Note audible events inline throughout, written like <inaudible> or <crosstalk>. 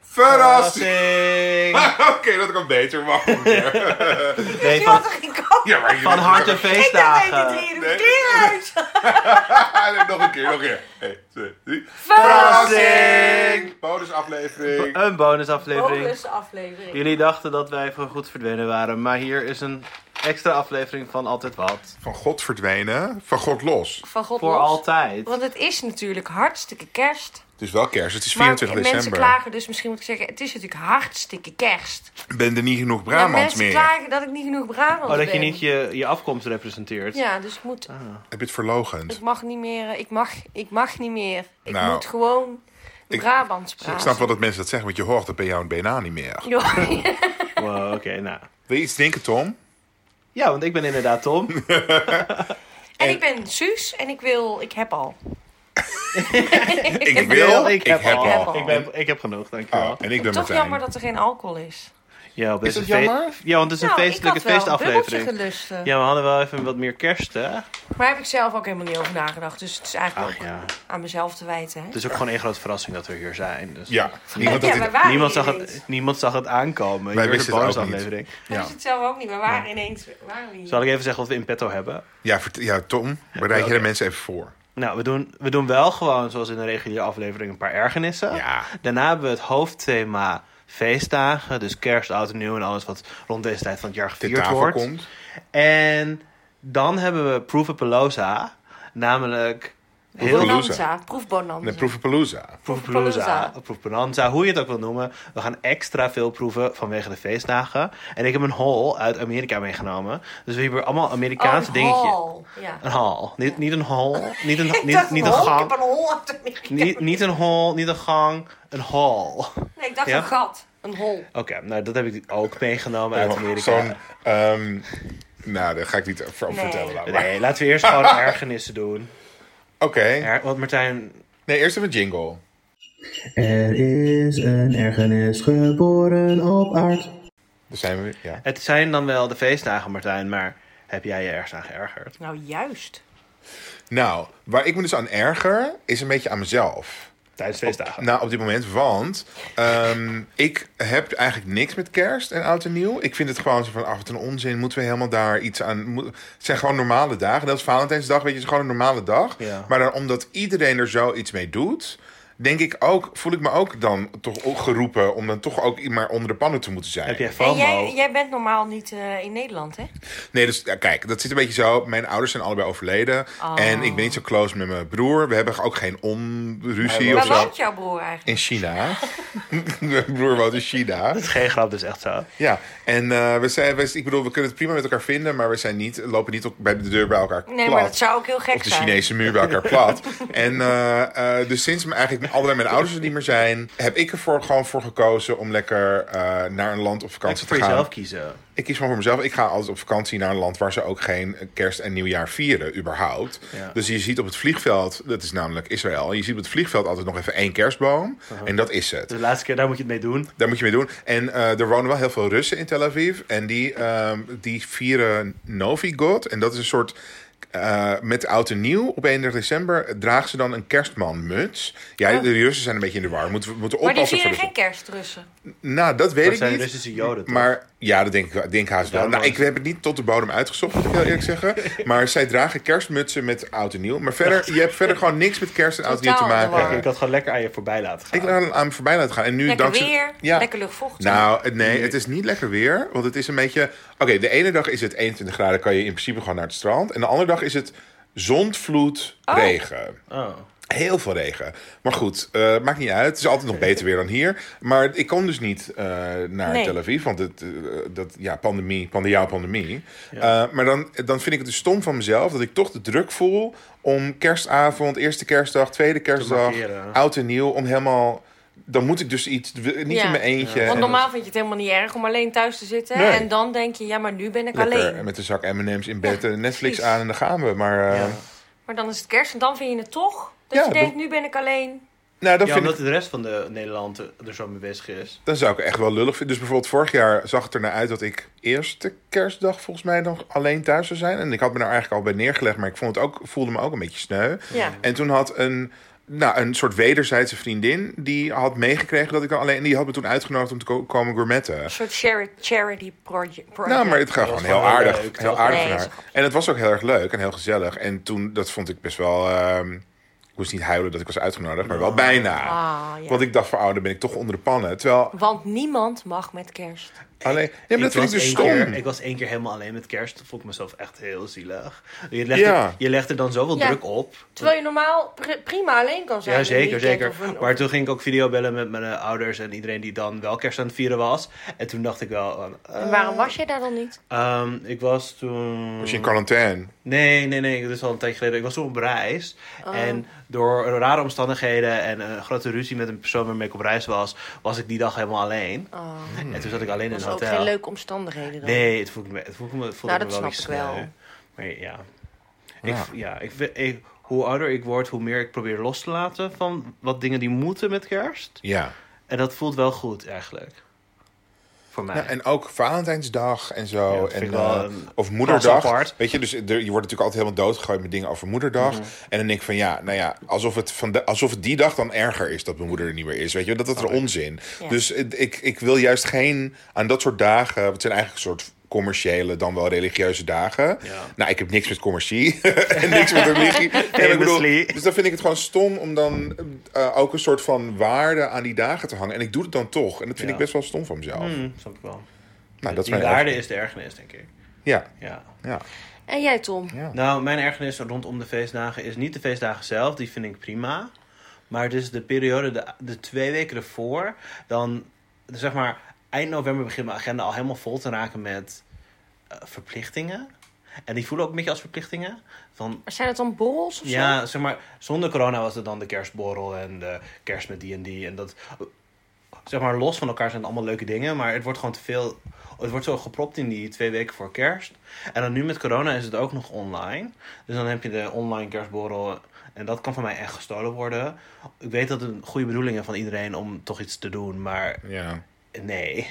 Verrassing! Verrassing! <laughs> Oké, dat ik een beter mag. <laughs> Nee, Je van, had er geen komen. ja, maar je van harte ik dacht feestdagen. dat weet het weer. Nee. Doe kleren <laughs> uit. Ah, nog een keer, nog een keer. 1, 2, 3. Verrassing! Bonusaflevering. Een bonusaflevering. Bonus aflevering. Jullie dachten dat wij voor goed verdwenen waren, maar hier is een extra aflevering van Altijd Wat. Van God verdwenen, van God los. Van God Voor los. altijd. Want het is natuurlijk hartstikke kerst. Het is wel kerst, het is Maar 24 mensen december. klagen dus, misschien moet ik zeggen, het is natuurlijk hartstikke kerst. Ik ben er niet genoeg Maar Brabants mensen meer. klagen dat ik niet genoeg Brabant Oh, dat je ben. niet Ah. je, je afkomst representeert. Ja, dus ik moet, Heb je het verlogend? ik mag niet meer, eh, ik mag, ik mag niet meer. Ik Nou, moet gewoon ik- Brabants praten. Ik snap wel dat mensen dat zeggen, want je hoort dat bij jou en BNA niet meer. <laughs> Joh, Wow, oké, nou. Wil je iets drinken, Tom? Ja, want ik ben inderdaad Tom. <laughs> En ik ben Suus en ik wil, ik heb al. <laughs> Ik wil, ik heb heb al. al. Ik, ben, ik heb genoeg, dankjewel. Oh, en ik ben Toch jammer Martijn. dat er geen alcohol is. Ja, op Is deze dat jammer? Ja, want het is een Nou, feestelijke ik had wel een feestaflevering. bubbeltje gelust. eh. Ja, we hadden wel even wat meer kerst, hè? Maar heb ik zelf ook helemaal niet over nagedacht. Dus het is eigenlijk Ach ook ja. aan mezelf te wijten. Hè? Het is ook gewoon één grote verrassing dat we hier zijn. Dus Ja, niemand ja, had wij dit... waren Niemand hier zag, ineens. het, niemand zag het aankomen. Wij Hier is wisten een het ook bonusaflevering. Dat Ja. is het zelf ook niet. We waren ineens... Waren we hier. Zal ik even zeggen wat we in petto hebben? Ja, vert- ja, Tom, bereid je de mensen even voor. Nou, we doen, we doen wel gewoon, zoals in een reguliere aflevering, een paar ergernissen. Ja. Daarna hebben we het hoofdthema feestdagen. Dus kerst, oud en nieuw en alles wat rond deze tijd van het jaar Ter gevierd tafel wordt. komt. En dan hebben we Proefapalooza. Namelijk heel Proefapalooza. Bonanza. Proef Bonanza. De Proevenpalooza. Proefpalooza, Proefbonanza, hoe je het ook wil noemen. We gaan extra veel proeven vanwege de feestdagen. En ik heb een haul uit Amerika meegenomen. Dus we hebben allemaal Amerikaans Oh, een dingetje. hal. Ja. Een haal. Niet, niet een hal. Niet een, <laughs> Ik dacht niet, niet een een hol. Ik gang. heb een hol uit Amerika. Niet, niet een hol, niet een gang. Een hal. Oké, <laughs> Nee, ik dacht Ja? een gat. Een hol. nou dat heb ik ook meegenomen uit Zo'n... Amerika. ehm, nou, daar ga ik niet over Nee. vertellen. laat maar. Nee, laten we eerst gewoon ergernissen doen. Oké. Er, want Martijn... Nee, eerst even jingle. Er is een ergernis geboren op aard. Daar zijn we weer. Ja. Het zijn dan wel de feestdagen, Martijn, maar heb jij je ergens aan geërgerd? Nou, juist. Nou, waar ik me dus aan erger, is een beetje aan mezelf. Tijdens feestdagen. Nou, op dit moment, want ehm, ik heb eigenlijk niks met kerst en oud en nieuw. Ik vind het gewoon zo van, af wat een onzin, moeten we helemaal daar iets aan... moet- het zijn gewoon normale dagen. Dat is Valentijnsdag, weet je, het is gewoon een normale dag. Ja. Maar dan, omdat iedereen er zoiets mee doet, denk ik ook, voel ik me ook dan toch geroepen... om dan toch ook maar onder de pannen te moeten zijn. Heb jij En FOMO? jij, jij bent normaal niet eh, in Nederland, hè? Nee, dus ja, kijk, dat zit een beetje zo. Mijn ouders zijn allebei overleden. En ik ben niet zo close met mijn broer. We hebben ook geen onruzie of Waar zo. woont jouw broer eigenlijk? In China. <laughs> mijn broer woont in China. Dat is geen grap, dat is echt zo. Ja, en eh, we zijn, we, ik bedoel, we kunnen het prima met elkaar vinden, maar we zijn niet, lopen niet op, bij de deur bij elkaar Nee, plat. maar dat zou ook heel Of gek de zijn. Chinese muur bij elkaar plat. En eh, eh, dus sinds me eigenlijk allebei mijn ouders er niet meer zijn, heb ik ervoor gewoon voor gekozen om lekker eh, naar een land op Als vakantie je te voor gaan. jezelf kiezen. Ik kies gewoon voor mezelf. Ik ga altijd op vakantie naar een land waar ze ook geen kerst en nieuwjaar vieren, überhaupt. Ja. Dus je ziet op het vliegveld, dat is namelijk Israël, je ziet op het vliegveld altijd nog even één kerstboom. En dat is het. Dus de laatste keer, daar moet je het mee doen. Daar moet je mee doen. En eh, er wonen wel heel veel Russen in Tel Aviv. En die, ehm, die vieren Novi God. En dat is een soort. eh, met oud en nieuw op 31 december dragen ze dan een kerstmanmuts. Ja, de Russen zijn een beetje in de war. Moeten, we moeten Ah. Maar die oppassen vieren voor geen de... kerstrussen. Nou, dat weet Dat ik zijn niet. Russische Joden, toch? Maar ja, dat denk ik, denk haast wel. Daarom Nou, was- ik heb het niet tot de bodem uitgezocht, moet ik heel eerlijk zeggen. Maar zij dragen kerstmutsen met oud en nieuw. Maar verder, je hebt verder gewoon niks met kerst en oud en nieuw te Totaal in de war. maken. Ik had gewoon lekker aan je voorbij laten gaan. Ik laat hem aan me voorbij laten gaan. En nu Lekker dankzij... weer, Ja. lekker luchtvochtig. Nou, het- nee, het is niet lekker weer. Want het is een beetje... Oké, de ene dag is het 21 graden. kan je in principe gewoon naar het strand. En de andere dag is het zondvloed, regen. Oh. Heel veel regen. Maar goed, eh, maakt niet uit. Het is altijd nog beter weer dan hier. Maar ik kon dus niet eh, naar Nee. Tel Aviv. Want het, eh, dat, ja, pandemie, pandiaal pandemie. Eh, maar dan, dan vind ik het dus stom van mezelf... dat ik toch de druk voel om kerstavond, eerste kerstdag... tweede kerstdag, markeren. oud en nieuw... om helemaal... Dan moet ik dus iets... Niet Ja. in mijn eentje. Want en normaal vind je het helemaal niet erg om alleen thuis te zitten. Nee. En dan denk je, ja, maar nu ben ik lekker alleen. met een zak M&M's in bed en Netflix precies. aan en dan gaan we. Maar eh, Ja. Maar dan is het kerst en dan vind je het toch. Dat Ja, je denkt, dat- nu ben ik alleen. nou, dat Ja, vind ik omdat de rest van de Nederland er zo mee bezig is. Dan zou ik het echt wel lullig vinden. Dus bijvoorbeeld vorig jaar zag het er naar uit dat ik eerste kerstdag volgens mij nog alleen thuis zou zijn. En ik had me daar eigenlijk al bij neergelegd, maar ik vond het ook, voelde me ook een beetje sneu. Ja. En toen had een nou, een soort wederzijdse vriendin. Die had meegekregen dat ik dan alleen. En die had me toen uitgenodigd om te ko- komen gourmetten. Een soort chari- charity project. Nou, maar het gaat gewoon was heel gewoon heel aardig. leuk, heel toch? aardig Nee, van haar. is goed. En het was ook heel erg leuk en heel gezellig. En toen, dat vond ik best wel... ehm, ik moest niet huilen dat ik was uitgenodigd, maar wel bijna. Ah, ja. Want ik dacht van, oh, dan ben ik toch onder de pannen. Terwijl, Want niemand mag met kerst. alleen... Ja, maar dat vind ik dus één stom. Keer, ik was één keer helemaal alleen met kerst. Toen vond ik mezelf echt heel zielig. Je legt, Ja. er, je legt er dan zoveel Ja. druk op. Terwijl je normaal pr- prima alleen kan zijn. Ja, zeker, een weekend zeker. of een- Maar toen ging ik ook videobellen met mijn eh, ouders en iedereen die dan wel kerst aan het vieren was. En toen dacht ik wel... van, eh, En waarom was je daar dan niet? ehm, ik was toen... Was je in quarantaine? Nee, nee, nee. Dat is al een tijdje geleden. Ik was toen op reis. Oh. En door rare omstandigheden en een grote ruzie met een persoon waarmee ik op reis was, was ik die dag helemaal alleen. Oh, En toen zat ik alleen in dat een was ook hotel. geen leuke omstandigheden dan. Nee, het voelde me, het voelde me, het voelde Nou, me dat wel snap iets ik wel. sneu. Maar ja. Ik, ja ik, vind- ik- hoe ouder ik word, hoe meer ik probeer los te laten van wat dingen die moeten met kerst. Ja. En dat voelt wel goed eigenlijk. Voor mij. Ja, en ook Valentijnsdag en Ja, zo. dat vind en, ik wel eh, een of klas Moederdag. apart. Mhm. Weet je, dus er- je wordt natuurlijk altijd helemaal doodgegooid met dingen over Moederdag. En dan denk ik van ja, nou ja, alsof het, van de, alsof het die dag dan erger is dat mijn moeder er niet meer is. Weet je, dat dat er onzin. Ja. Dus eh, ik, ik wil juist geen aan dat soort dagen. want Het zijn eigenlijk een soort commerciële, dan wel religieuze dagen. Ja. Nou, ik heb niks met commercie <laughs> en niks met <laughs> religie. En ik Famously. dus dan vind ik het gewoon stom om dan eh, ook een soort van waarde aan die dagen te hangen. En ik doe het dan toch. En dat vind Ja. ik best wel stom van mezelf. Hm, snap ik wel. Nou, dat is die mijn waarde eigen- is de ergernis, denk ik. Ja, Ja. ja. En jij, Tom? Ja. Nou, mijn ergernis rondom de feestdagen is niet de feestdagen zelf, die vind ik prima. Maar het is de periode, de, de twee weken ervoor, dan zeg maar eind november begint mijn agenda al helemaal vol te raken met eh, verplichtingen. En die voelen ook een beetje als verplichtingen. Van, Zijn het dan borrels of zo? ja, zeg maar, zonder corona was het dan de kerstborrel en de kerst met die en die. En dat, zeg maar, los van elkaar zijn het allemaal leuke dingen. Maar het wordt gewoon te veel, het wordt zo gepropt in die twee weken voor kerst. En dan nu met corona is het ook nog online. Dus dan heb je de online kerstborrel. En dat kan van mij echt gestolen worden. Ik weet dat het een goede bedoelingen van iedereen om toch iets te doen. Maar ja. nee. <laughs>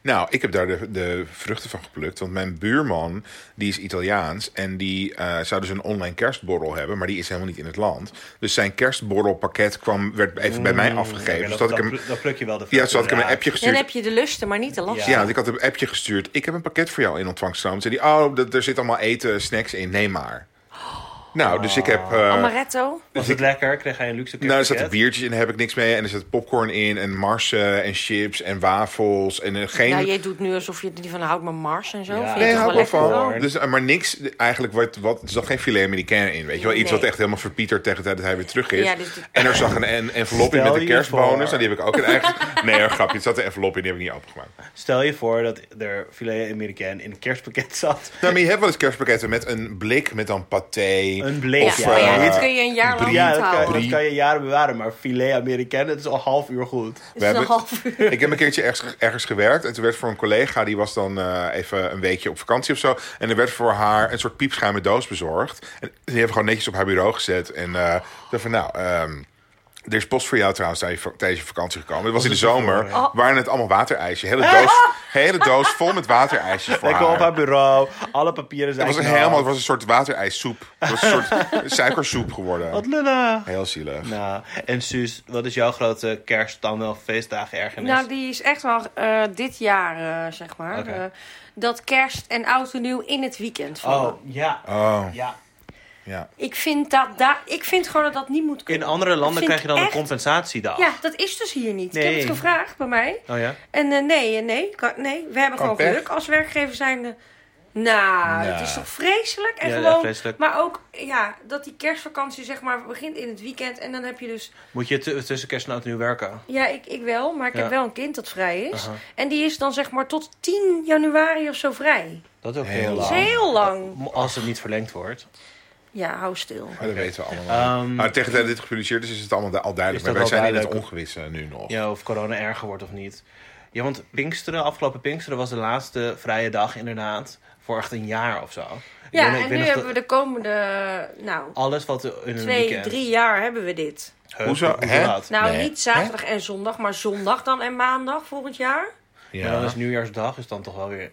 Nou, ik heb daar de, de vruchten van geplukt. Want mijn buurman, die is Italiaans. En die eh, zou dus een online kerstborrel hebben. Maar die is helemaal niet in het land. Dus zijn kerstborrelpakket kwam, werd even bij mij afgegeven. Oké, dus dat, dat ik dat hem, pluk- dat pluk je wel de ja, dus had ik hem een inderdaad. appje Dan gestuurd. heb je de lusten, maar niet de last. Ja, want ik had hem een appje gestuurd. Ik heb een pakket voor jou in ontvangst genomen. Toen zei hij, oh, dat- er zit allemaal eten, snacks in. Neem maar. Nou, dus ik heb... eh, Amaretto? Was het lekker? Kreeg hij een luxe Nou, er zaten kerstpakket? biertjes in, daar heb ik niks mee. En er zat popcorn in, en marsen, en chips, en wafels. En eh, geen. Nou, jij doet nu alsof je er niet van houdt, maar Mars en zo. Ja. Vind je Nee, toch hou ik wel wel lekker van. hoor. Dus, eh, maar niks, eh, eigenlijk, wat, wat, er zat geen filet Americain in. Weet je wel, iets Nee. wat echt helemaal verpietert tegen de tijd dat hij weer terug is. Ja, dus die- En er zag een, en envelop in Stel met een je kerstbonus. voor. En die heb ik ook een <laughs> eigen. Nee, een grapje. Er zat een envelop in, die heb ik niet opengemaakt. Stel je voor dat er filet Amerikaan in een kerstpakket <laughs> zat. Nou, maar je hebt wel eens kerstpakketten met een blik met dan paté. Een blik, Of, ja. eh, Oh Ja, dit kun je een jaar lang brie. Ja, niet dat kan, houden. dat Brie. kan je jaren bewaren, maar filet Amerikaan, dat is al half uur goed. Het is een hebben- half uur. Ik heb een keertje ergens, ergens gewerkt. En toen werd voor een collega, die was dan eh, even een weekje op vakantie of zo. En er werd voor haar een soort piepschuime doos bezorgd. En die hebben we gewoon netjes op haar bureau gezet. En eh zei van nou. ehm, er is post voor jou trouwens tijdens je- tijdens je vakantie gekomen. Het was in de zomer. Oh. Waren het allemaal waterijsjes. <laughs> Hele doos, hele doos vol met waterijsjes voor Lekker haar. op haar nou. bureau, alle papieren zijn Het was een, knap. helemaal, het was een soort waterijssoep. Het was een <laughs> soort suikersoep geworden. Wat lullig. Heel zielig. Nou, en Suus, wat is jouw grote kerst dan wel feestdagen ergernis? Nou, die is echt wel eh, dit jaar, eh, zeg maar. Oké. eh, dat kerst en oud en nieuw in het weekend vallen. Oh, ja. Oh, ja. ja. Ik, vind dat daar, ik vind gewoon dat dat niet moet In kunnen. andere landen vind krijg je dan echt- een compensatiedag. Ja, dat is dus hier niet. Ik Nee. heb het gevraagd bij mij. Oh ja? En eh, nee, eh, nee, kan- nee, we hebben Kan gewoon pech. geluk als werkgever zijnde. Nou, Ja. het is toch vreselijk? En Ja, ja, gewoon, vreselijk. Maar ook ja, dat die kerstvakantie zeg maar begint in het weekend. En dan heb je dus... Moet je t- tussen kerst en oud en nieuw werken? Ja, ik, ik wel, maar ik Ja. heb wel een kind dat vrij is. Aha. En die is dan zeg maar tot 10 januari of zo vrij. Dat is ook Heel heel lang. Dat is lang. heel lang. Als het niet verlengd wordt. Ja, hou stil. Maar dat weten we allemaal. Ehm, maar tegen de tijd dat dit gepubliceerd is, is het allemaal du- al duidelijk. Is Maar dat wij al zijn in het duidelijk? ongewisse nu nog. Ja, of corona erger wordt of niet. Ja, want Pinksteren, afgelopen Pinksteren was de laatste vrije dag inderdaad. Voor echt een jaar of zo. Ik weet nog- Ja, ik en weet nu nog hebben we dat de komende, nou, Alles wat er in een twee, weekend... drie jaar hebben we dit. Huh, Hoezo? hoe Hè? laat? Nou, Nee. niet zaterdag en zondag, maar zondag dan en maandag volgend jaar. Maar dan is nieuwjaarsdag is dan toch wel weer...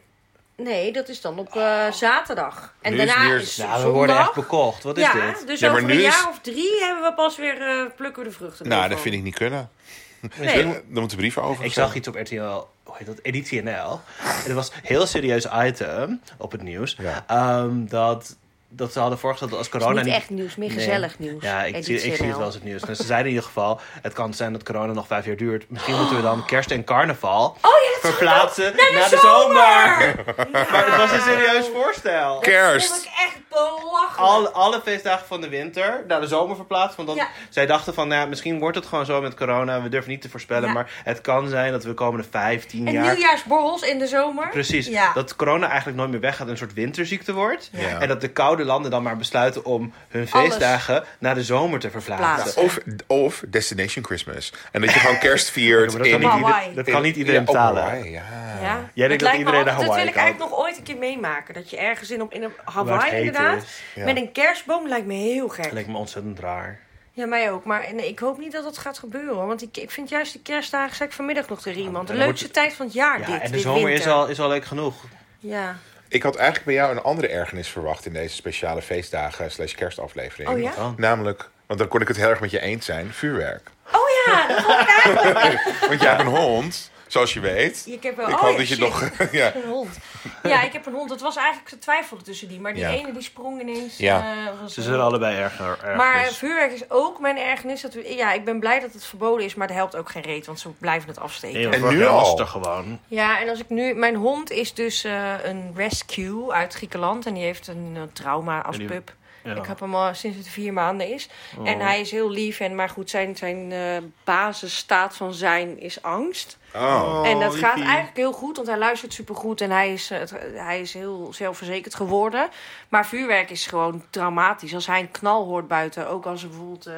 Nee, dat is dan op eh, zaterdag. En Nu is daarna het weer- is Nou, we zondag. worden echt bekocht. Wat is ja, dit? dus Ja, maar over een nu is- jaar of drie hebben we pas weer, eh, plukken we de vruchten. Nou, dat vind ik niet kunnen. Nee. Dan moeten brieven over. Ik zag iets op RTL, hoe heet dat? Editie NL. En dat was een heel serieus item op het nieuws. Ja. Ehm, dat, dat ze hadden voorgesteld dat als corona. niet echt nieuws, meer gezellig nieuws. Ja, ik zie, Editie ik zie het NL. wel als het nieuws. Dus ze zeiden in ieder geval: het kan zijn dat corona nog vijf jaar duurt. Misschien moeten we dan kerst en carnaval Oh ja, dat zag ik verplaatsen ook. Naar de zomer! Maar het was een serieus voorstel. Kerst. Dat vond ik echt belachelijk. Alle, alle feestdagen van de winter naar de zomer verplaatst. Want dan, Ja. zij dachten van, nou, ja, misschien wordt het gewoon zo met corona. We durven niet te voorspellen. Ja. Maar het kan zijn dat we de komende 15 En jaar... nieuwjaarsborrels in de zomer. Precies. Ja. Dat corona eigenlijk nooit meer weggaat en een soort winterziekte wordt. Ja. En dat de koude landen dan maar besluiten om hun Alles. feestdagen naar de zomer te verplaatsen. Verplaatsen. Of, of Destination Christmas. En dat je gewoon <laughs> kerst Ja, viert. maar in dat, kan Op niet ieder- Hawaii. dat kan niet in- iedereen ja, op betalen. Hawaii, ja. Ja. denkt Het dat lijkt me iedereen naar altijd- Dat Hawaii wil ik eigenlijk nog ooit een keer meemaken. Dat je ergens in, op, in een Waar het Hawaii heet inderdaad, is. Ja. met een kerstboom lijkt me heel gek. Dat lijkt me ontzettend raar. Ja, mij ook. Maar nee, ik hoop niet dat dat gaat gebeuren. hoor. Want ik, ik vind juist de kerstdagen, zei ik vanmiddag nog tegen iemand, de dan leukste tijd van het jaar Ja, dit. en de dit zomer is winter. al, is al leuk genoeg. Ja. Ik had eigenlijk bij jou een andere ergernis verwacht in deze speciale feestdagen slash kerstaflevering. Oh ja? Dan. Namelijk, want dan kon ik het heel erg met je eens zijn, vuurwerk. Oh ja, dat vond ik eigenlijk... Want jij hebt <laughs> een hond, zoals je weet. Ik heb wel... Ik oh, hoop ja, dat je shit. nog... <laughs> ja. <laughs> Een hond. Ja, ik heb een hond. Dat was eigenlijk te twijfelen tussen die. Maar die Ja. ene die sprong ineens. Ja. eh, was- Ze zullen allebei erger. erg Maar is. vuurwerk is ook mijn ergernis. Dat we, ja, ik ben blij dat het verboden is, maar dat helpt ook geen reet, want ze blijven het afsteken. Nee, En en nu nu al. was het er gewoon. Ja, en als ik nu. Mijn hond is dus eh, een rescue uit Griekenland en die heeft een eh, trauma als En die- pup. Ja. Oh. Ik heb hem al sinds het vier maanden is. En hij is heel lief. En, maar goed, zijn, zijn eh, basisstaat van zijn is angst. Oh. en dat gaat liefie. eigenlijk heel goed, want hij luistert supergoed. En hij is, eh, het- hij is heel zelfverzekerd geworden. Maar vuurwerk is gewoon dramatisch. Als hij een knal hoort buiten, ook als er bijvoorbeeld... eh,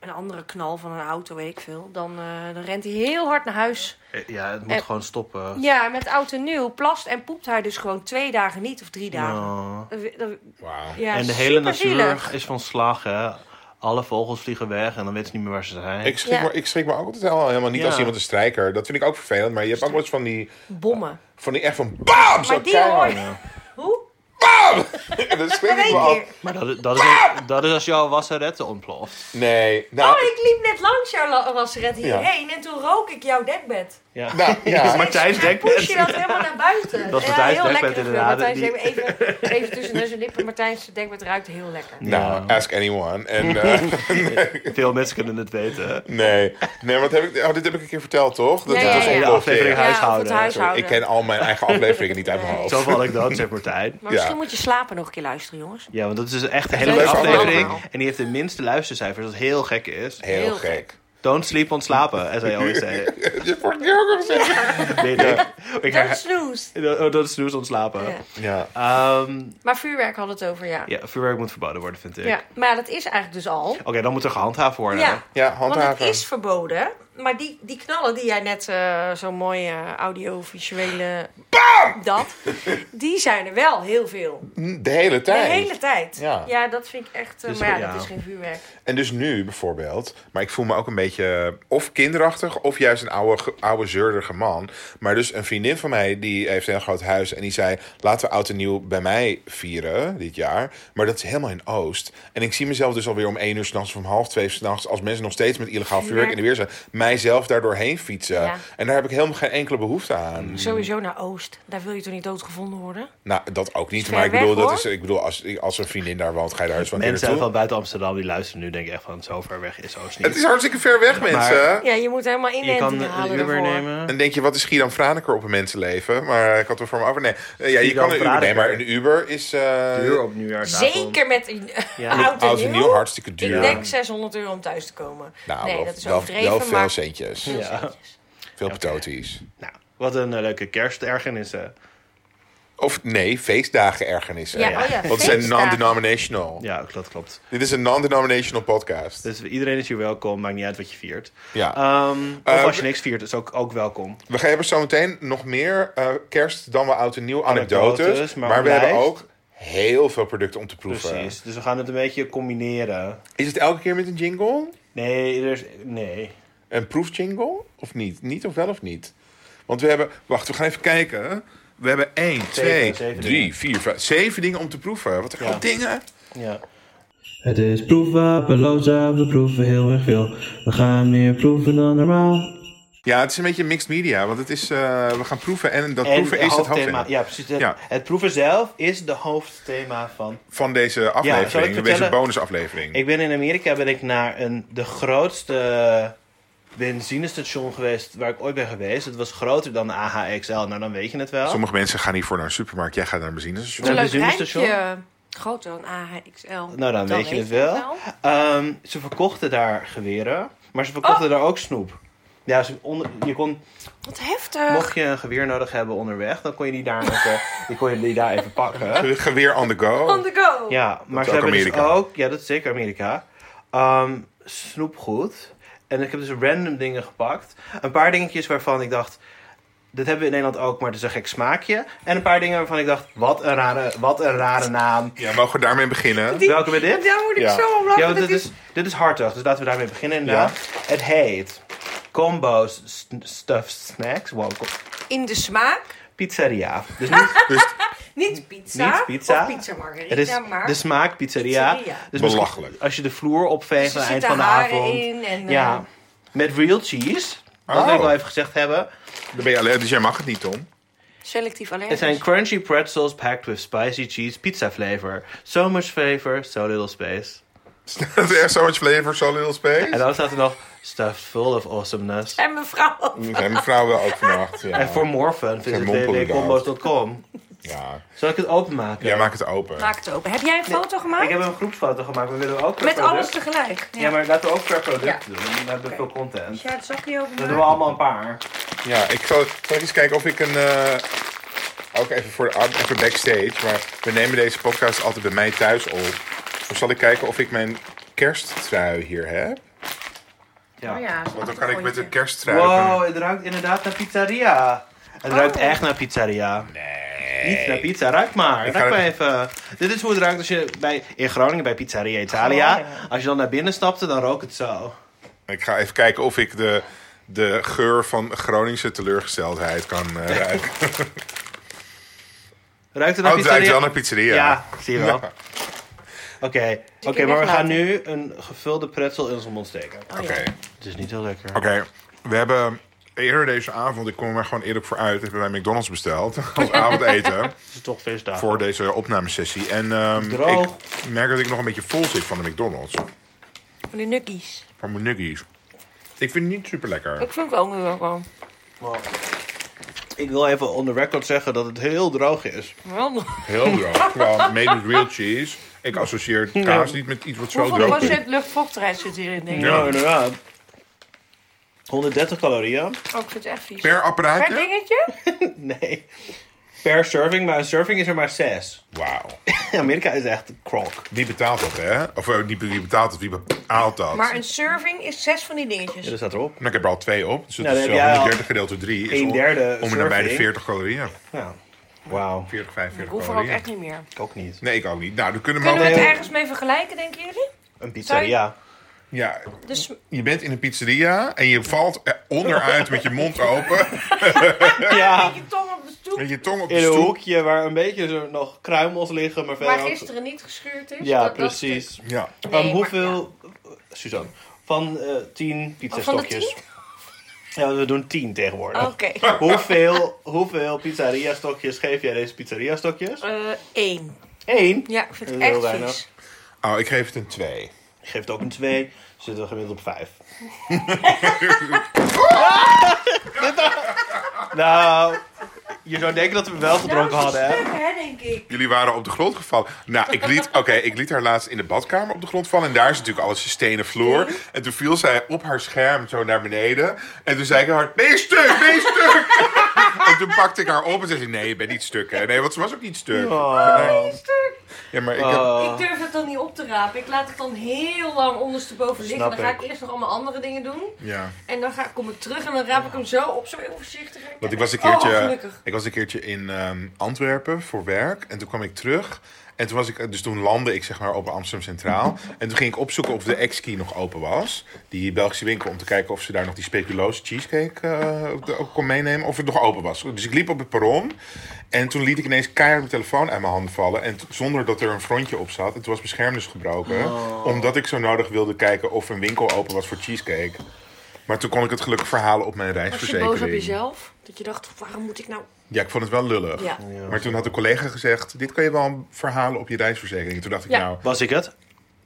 een andere knal van een auto, weet ik veel. Dan, eh, dan rent hij heel hard naar huis. Eh, Ja, het moet En- gewoon stoppen. Ja, met oud en nieuw plast en poept hij dus gewoon twee dagen niet of drie dagen. Ja. Dat we- dat we- Wauw. ja, en de hele superzielig. natuur is van slag, hè. Alle vogels vliegen weg en dan weten ze niet meer waar ze zijn. Ik schrik, Ja. me, ik schrik me ook altijd helemaal, helemaal niet Ja. als iemand een strijker. Dat vind ik ook vervelend. Maar je hebt ook wel eens van die, Bommen. van die echt van BAM! Zo Maar die hoor keihard. je. <laughs> Hoe? <laughs> En dan schrik In ik me één al. keer. Maar dat, dat, is, dat is als jouw wasserette ontploft. Nee. Nou, Oh, ik liep net langs jouw la- rasseret hierheen en toen rook ik jouw dekbed. Ja. nou, <laughs> ja. Maar- Martijn's Hij dekbed. push je dat helemaal naar buiten. Dat is Ja, Martijn's heel dekbed lekker geur. inderdaad. Martijn's Die- dekbed- Even, even tussen neus en lippen. Martijn's dekbed ruikt heel lekker. nou, Ja. ask anyone. En, <laughs> eh, Veel mensen kunnen het weten. nee. Nee, wat heb ik... Oh, dit heb ik een keer verteld, toch? Dat Ja, dit ja, was ja. een De ontploffing. aflevering Ja, of het huishouden. huishouden. Ik ken al mijn <laughs> eigen afleveringen niet uit mijn hoofd. Zoveel anekdotes heeft Martijn. Maar Ja. misschien moet je slapen nog een keer luisteren, jongens. Ja, want dat is dus echt een hele Leuk leuke verhaal. aflevering. Allemaal. En die heeft de minste luistercijfers, wat heel gek is. Heel, Heel gek. Don't sleep on slapen, eh, as I always <laughs> say. Je wordt niet ook gezegd. Weet ik. Ik Dat herha- is snoes. Oh, dat is nieuws ontslapen. Ja. Ja. Ehm, Maar vuurwerk had het over, ja. ja, vuurwerk moet verboden worden, vind ik. ja. Maar ja, dat is eigenlijk dus al. Oké, dan moet er gehandhaafd worden. Ja. Ja, Want handhaven. het is verboden. Maar die, die knallen die jij net eh, zo mooi eh audiovisuele... Dat. Die zijn er wel heel veel. De hele De tijd. hele tijd. Ja. Ja, dat vind ik echt... eh, Dus, maar ja, ja. dat is geen vuurwerk. En dus nu bijvoorbeeld, maar ik voel me ook een beetje eh, of kinderachtig of juist een oude, ge- oude zeurderige man. Maar dus een vriendin van mij, die heeft een heel groot huis en die zei: laten we oud en nieuw bij mij vieren dit jaar. Maar dat is helemaal in Oost. En ik zie mezelf dus alweer om één uur s'nachts of om half twee s'nachts, als mensen nog steeds met illegaal vuurwerk in de weer zijn, mijzelf daar doorheen fietsen. Ja. Mm. En daar heb ik helemaal geen enkele behoefte Hmm. aan. Sowieso naar Oost. Daar wil je toch niet doodgevonden worden? Nou, dat ook niet. Ver Maar ik bedoel, weg, dat hoor. is, ik bedoel als, als een vriendin daar woont, ga je daar huis van keer Mensen naartoe. van buiten Amsterdam die luisteren nu denken echt van zo ver weg is Oost niet. Het is hartstikke ver weg, mensen. Ja, je moet helemaal je kan inenting halen een Uber daarvoor. En nemen. dan denk je, wat is Gieran Franeker op een mensenleven? Maar eh, ik had er voor me over. Nee, Eh, ja, je Gieran kan een Uber nemen, maar een Franeker. Uber is... eh Uur op nieuwjaarsavond. Zeker met een <laughs> Ja. oud en Oud en nieuw, hartstikke Ik duur. denk 600 euro om thuis te komen. nou, nee, wel, dat is wel- overdreven, wel veel maar... centjes. Veel Ja. centjes. Veel patoties. Nou, wat een eh, leuke kerstergernis. eh. hè. Of nee, feestdagen ergernissen. Ja, oh ja, Want ze zijn feestdagen. non-denominational. Ja, dat klopt. Dit is een non-denominational podcast. Dus iedereen is hier welkom, maakt niet uit wat je viert. Ja. Ehm, of Eh, als je niks viert, is ook, ook welkom. We gaan hebben zometeen nog meer eh, kerst dan wel oud en nieuw anekdotes. Anekdotes, maar maar we lijst. hebben ook heel veel producten om te proeven. Precies. Dus we gaan het een beetje combineren. Is het elke keer met een jingle? Nee, er is, nee. Een proefjingle? Of niet? Niet of wel of niet? Want we hebben... Wacht, we gaan even kijken. We hebben 1, Zeven, 2, zeven 3, 4, 5, 7 dingen om te proeven. Wat een Ja. groot dingen. Ja. Het is proefwapenloza, we proeven heel erg veel. We gaan meer proeven dan normaal. Ja, het is een beetje mixed media. Want het is, eh, we gaan proeven en dat En proeven is het hoofdthema- hoofdthema Ja, precies. Het, Ja. het proeven zelf is de hoofdthema van van deze zal ik aflevering. deze vertellen? bonusaflevering. Ik ben in Amerika ben ik naar een, de grootste benzinestation geweest waar ik ooit ben geweest. Het was groter dan de AHXL. Nou, dan weet je het wel. Sommige mensen gaan hiervoor naar een supermarkt. Jij gaat naar een benzinestation. Ja. Een leuk benzinestation? rijtje. Groter dan AHXL. Nou, dan weet je het wel. Ehm, ze verkochten daar geweren, maar ze verkochten daar ook snoep. Ja, ze onder, je kon, Wat heftig. mocht je een geweer nodig hebben onderweg, dan kon je die daar, even, die kon je die daar even pakken. Geweer on the On go. the go. Ja, maar is ze ook hebben dus Amerika. ook, ja, dat is zeker Amerika, Ehm snoepgoed. En ik heb dus random dingen gepakt. Een paar dingetjes waarvan ik dacht, dit hebben we in Nederland ook, maar het is een gek smaakje. En een paar dingen waarvan ik dacht, wat een rare, wat een rare naam. Ja, mogen we daarmee beginnen? Die- Welke ben dit? Daar moet ik Ja. zo om lachen. Ja, want dat dit is, dit is hartig, dus laten we daarmee beginnen inderdaad. Het heet Combo's St- Stuffed Snacks. Wow, co- in de smaak. pizzeria. <laughs> Dus niet, Niet pizza. Niet pizza. Of pizza margarita, het is maar... de smaak pizzeria. Pizzeria. Dus misschien Belachelijk. Als je de vloer opveegt Ze aan het eind zitten van de haren avond. in en, ja, eh, met real cheese. Dat Oh. wil ik wel even gezegd hebben. Dan ben je alleen, dus jij mag het niet, Tom. <laughs> Selectief dus. allergisch. Het zijn crunchy pretzels packed with spicy cheese pizza flavor. So much flavor, so little space. Dat is echt so much flavor, so little En space. dan staat er nog stuffed full of awesomeness. En mevrouw. ook. Daar zijn mevrouw wel ook vannacht. En Ja. voor more fun visit mompelen überhaupt. www.combos.com. Ja. Zal ik het openmaken? Jij maakt het open. Maak het open. Heb jij een foto gemaakt? Ik heb een groepsfoto gemaakt, maar willen we ook per Met product? alles tegelijk. Ja, maar laten we ook per product Ja. doen. We hebben we veel content. Als jij het zakje Dan doen we openmaakt. allemaal een paar. Ja, ik zal, zal ik eens kijken of ik een. eh, ook even voor de ad- even backstage. Maar we nemen deze podcast altijd bij mij thuis op. Dus zal ik kijken of ik mijn kersttrui hier heb. Ja. Oh ja, Want dan kan ik met een kersttrui. Wow, het ruikt inderdaad naar pizzeria. Het Oh. ruikt echt naar pizzeria. Nee. Niet naar pizza, ruik maar. Ik Ruik ga maar het- even. Dit is hoe het ruikt als je bij, in Groningen bij Pizzeria Italia. Oh, ja. Als je dan naar binnen stapte, dan rookt het zo. Ik ga even kijken of ik de, de geur van Groningse teleurgesteldheid kan eh, <laughs> ruiken. Ruikt het Oh, naar het ruikt pizzeria? wel naar pizzeria. Ja, zie je wel. Oké, oké, maar we weglaten. gaan nu een gevulde pretzel in onze mond steken. Oké. Oh Het is niet heel lekker. Oké, we hebben eerder deze avond, ik kom er maar gewoon eerlijk voor uit, hebben wij McDonald's besteld <laughs> als avondeten Het is toch feestdag. voor deze opnamesessie. En ehm, ik Droog. merk dat ik nog een beetje vol zit van de McDonald's, Van die nuggies. van mijn nuggies. Ik vind het niet super lekker. Ik vind het ook nu wel gewoon. Wow. Ik wil even on the record zeggen dat het heel droog is. Wel nog. Heel <laughs> droog. Wel made with real cheese. Ik associeer kaas niet met iets wat zo Hoeveel droog is. procent luchtvochtigheid zit hierin, denk ik? Ja. Ja, Nou, inderdaad. 130 calorieën. Oh, ik vind het echt vies. Per Per apparaatje? dingetje? <laughs> Nee. Per serving, maar een serving is er maar 6. Wauw. <laughs> Amerika is echt een krok. Die betaalt dat, hè? Of eh, niet wie betaalt dat, wie bepaalt dat? Maar een serving is zes van die dingetjes. Ja, dat staat erop. Nou, ik heb er al twee op. Dus het Nou, is dan wel heb jij al 130 gedeeld door 3. Is een om- derde Om en nabij de serving. 40 calorieën. Ja. Wauw. 40, Ik 45 hoef er ook calorieën. echt niet meer. Ik ook niet. Nee, ik ook niet. Nou, dan kunnen we Kunnen we wel- Nee. het ergens mee vergelijken, denken jullie? Een pizzeria. Ja, Dus je bent in een pizzeria en je valt eh, onderuit met je mond open. <laughs> Ja. je tong op de stoep, Met je tong op de In een stoel. hoekje waar een beetje zo nog kruimels liggen, maar verder waar ook- gisteren niet geschuurd is. Ja, dat- Oh, dat precies. Ja. Ehm, Nee, maar- hoeveel... Suzanne. Van eh 10 Oh, van de pizzastokjes. Ja, we doen 10 tegenwoordig. Oké. <laughs> Hoeveel, hoeveel pizzeria stokjes geef jij deze pizzeria stokjes? Eh, één. Eén. Ja, ik vind het Dat is echt heel vies. Oh, ik geef het een 2. Geeft ook een 2. Zitten we gemiddeld op <laughs> 5. nou, je zou denken dat we wel gedronken Nou, hadden, dat is hè? stuk, hè, denk ik. Jullie waren op de grond gevallen. Nou, ik liet, oké, ik liet haar laatst in de badkamer op de grond vallen. En daar is natuurlijk alles een stenen vloer. En toen viel zij op haar scherm zo naar beneden. En toen zei ik haar, nee, stuk, nee, stuk. <laughs> en toen pakte ik haar op en zei ze, nee, je bent niet stuk. Hè? Nee, want ze was ook niet stuk. Oh. Stuk. Ja, maar ik heb... Oh. Ik durf het dan niet op te rapen. Ik laat het dan heel lang ondersteboven liggen. Snap Dan ga ik ik. eerst nog allemaal andere dingen doen. Ja. En dan ga, kom ik terug en dan raap ik hem zo op, zo heel voorzichtig. Want ik was een Oh, keertje, gelukkig. ik was een keertje in ehm, Antwerpen voor werk. En toen kwam ik terug. En En toen was ik, dus toen landde ik zeg maar op Amsterdam Centraal. En toen ging ik opzoeken of de X-Key nog open was. Die Belgische winkel, om te kijken of ze daar nog die speculoos cheesecake eh, ook- ook kon meenemen. Of het nog open was. Dus ik liep op het perron. En toen liet ik ineens keihard mijn telefoon uit mijn handen vallen. En t- zonder dat er een frontje op zat. Het was beschermders gebroken. Oh. Omdat ik zo nodig wilde kijken of een winkel open was voor cheesecake. Maar toen kon ik het gelukkig verhalen op mijn Was je boos op reisverzekering. jezelf? Dat je dacht, waarom moet ik nou... Ja, ik vond het wel lullig. Ja. Maar toen had een collega gezegd: Dit kan je wel verhalen op je reisverzekering. Toen dacht ik: Ja. Nou, Was ik het?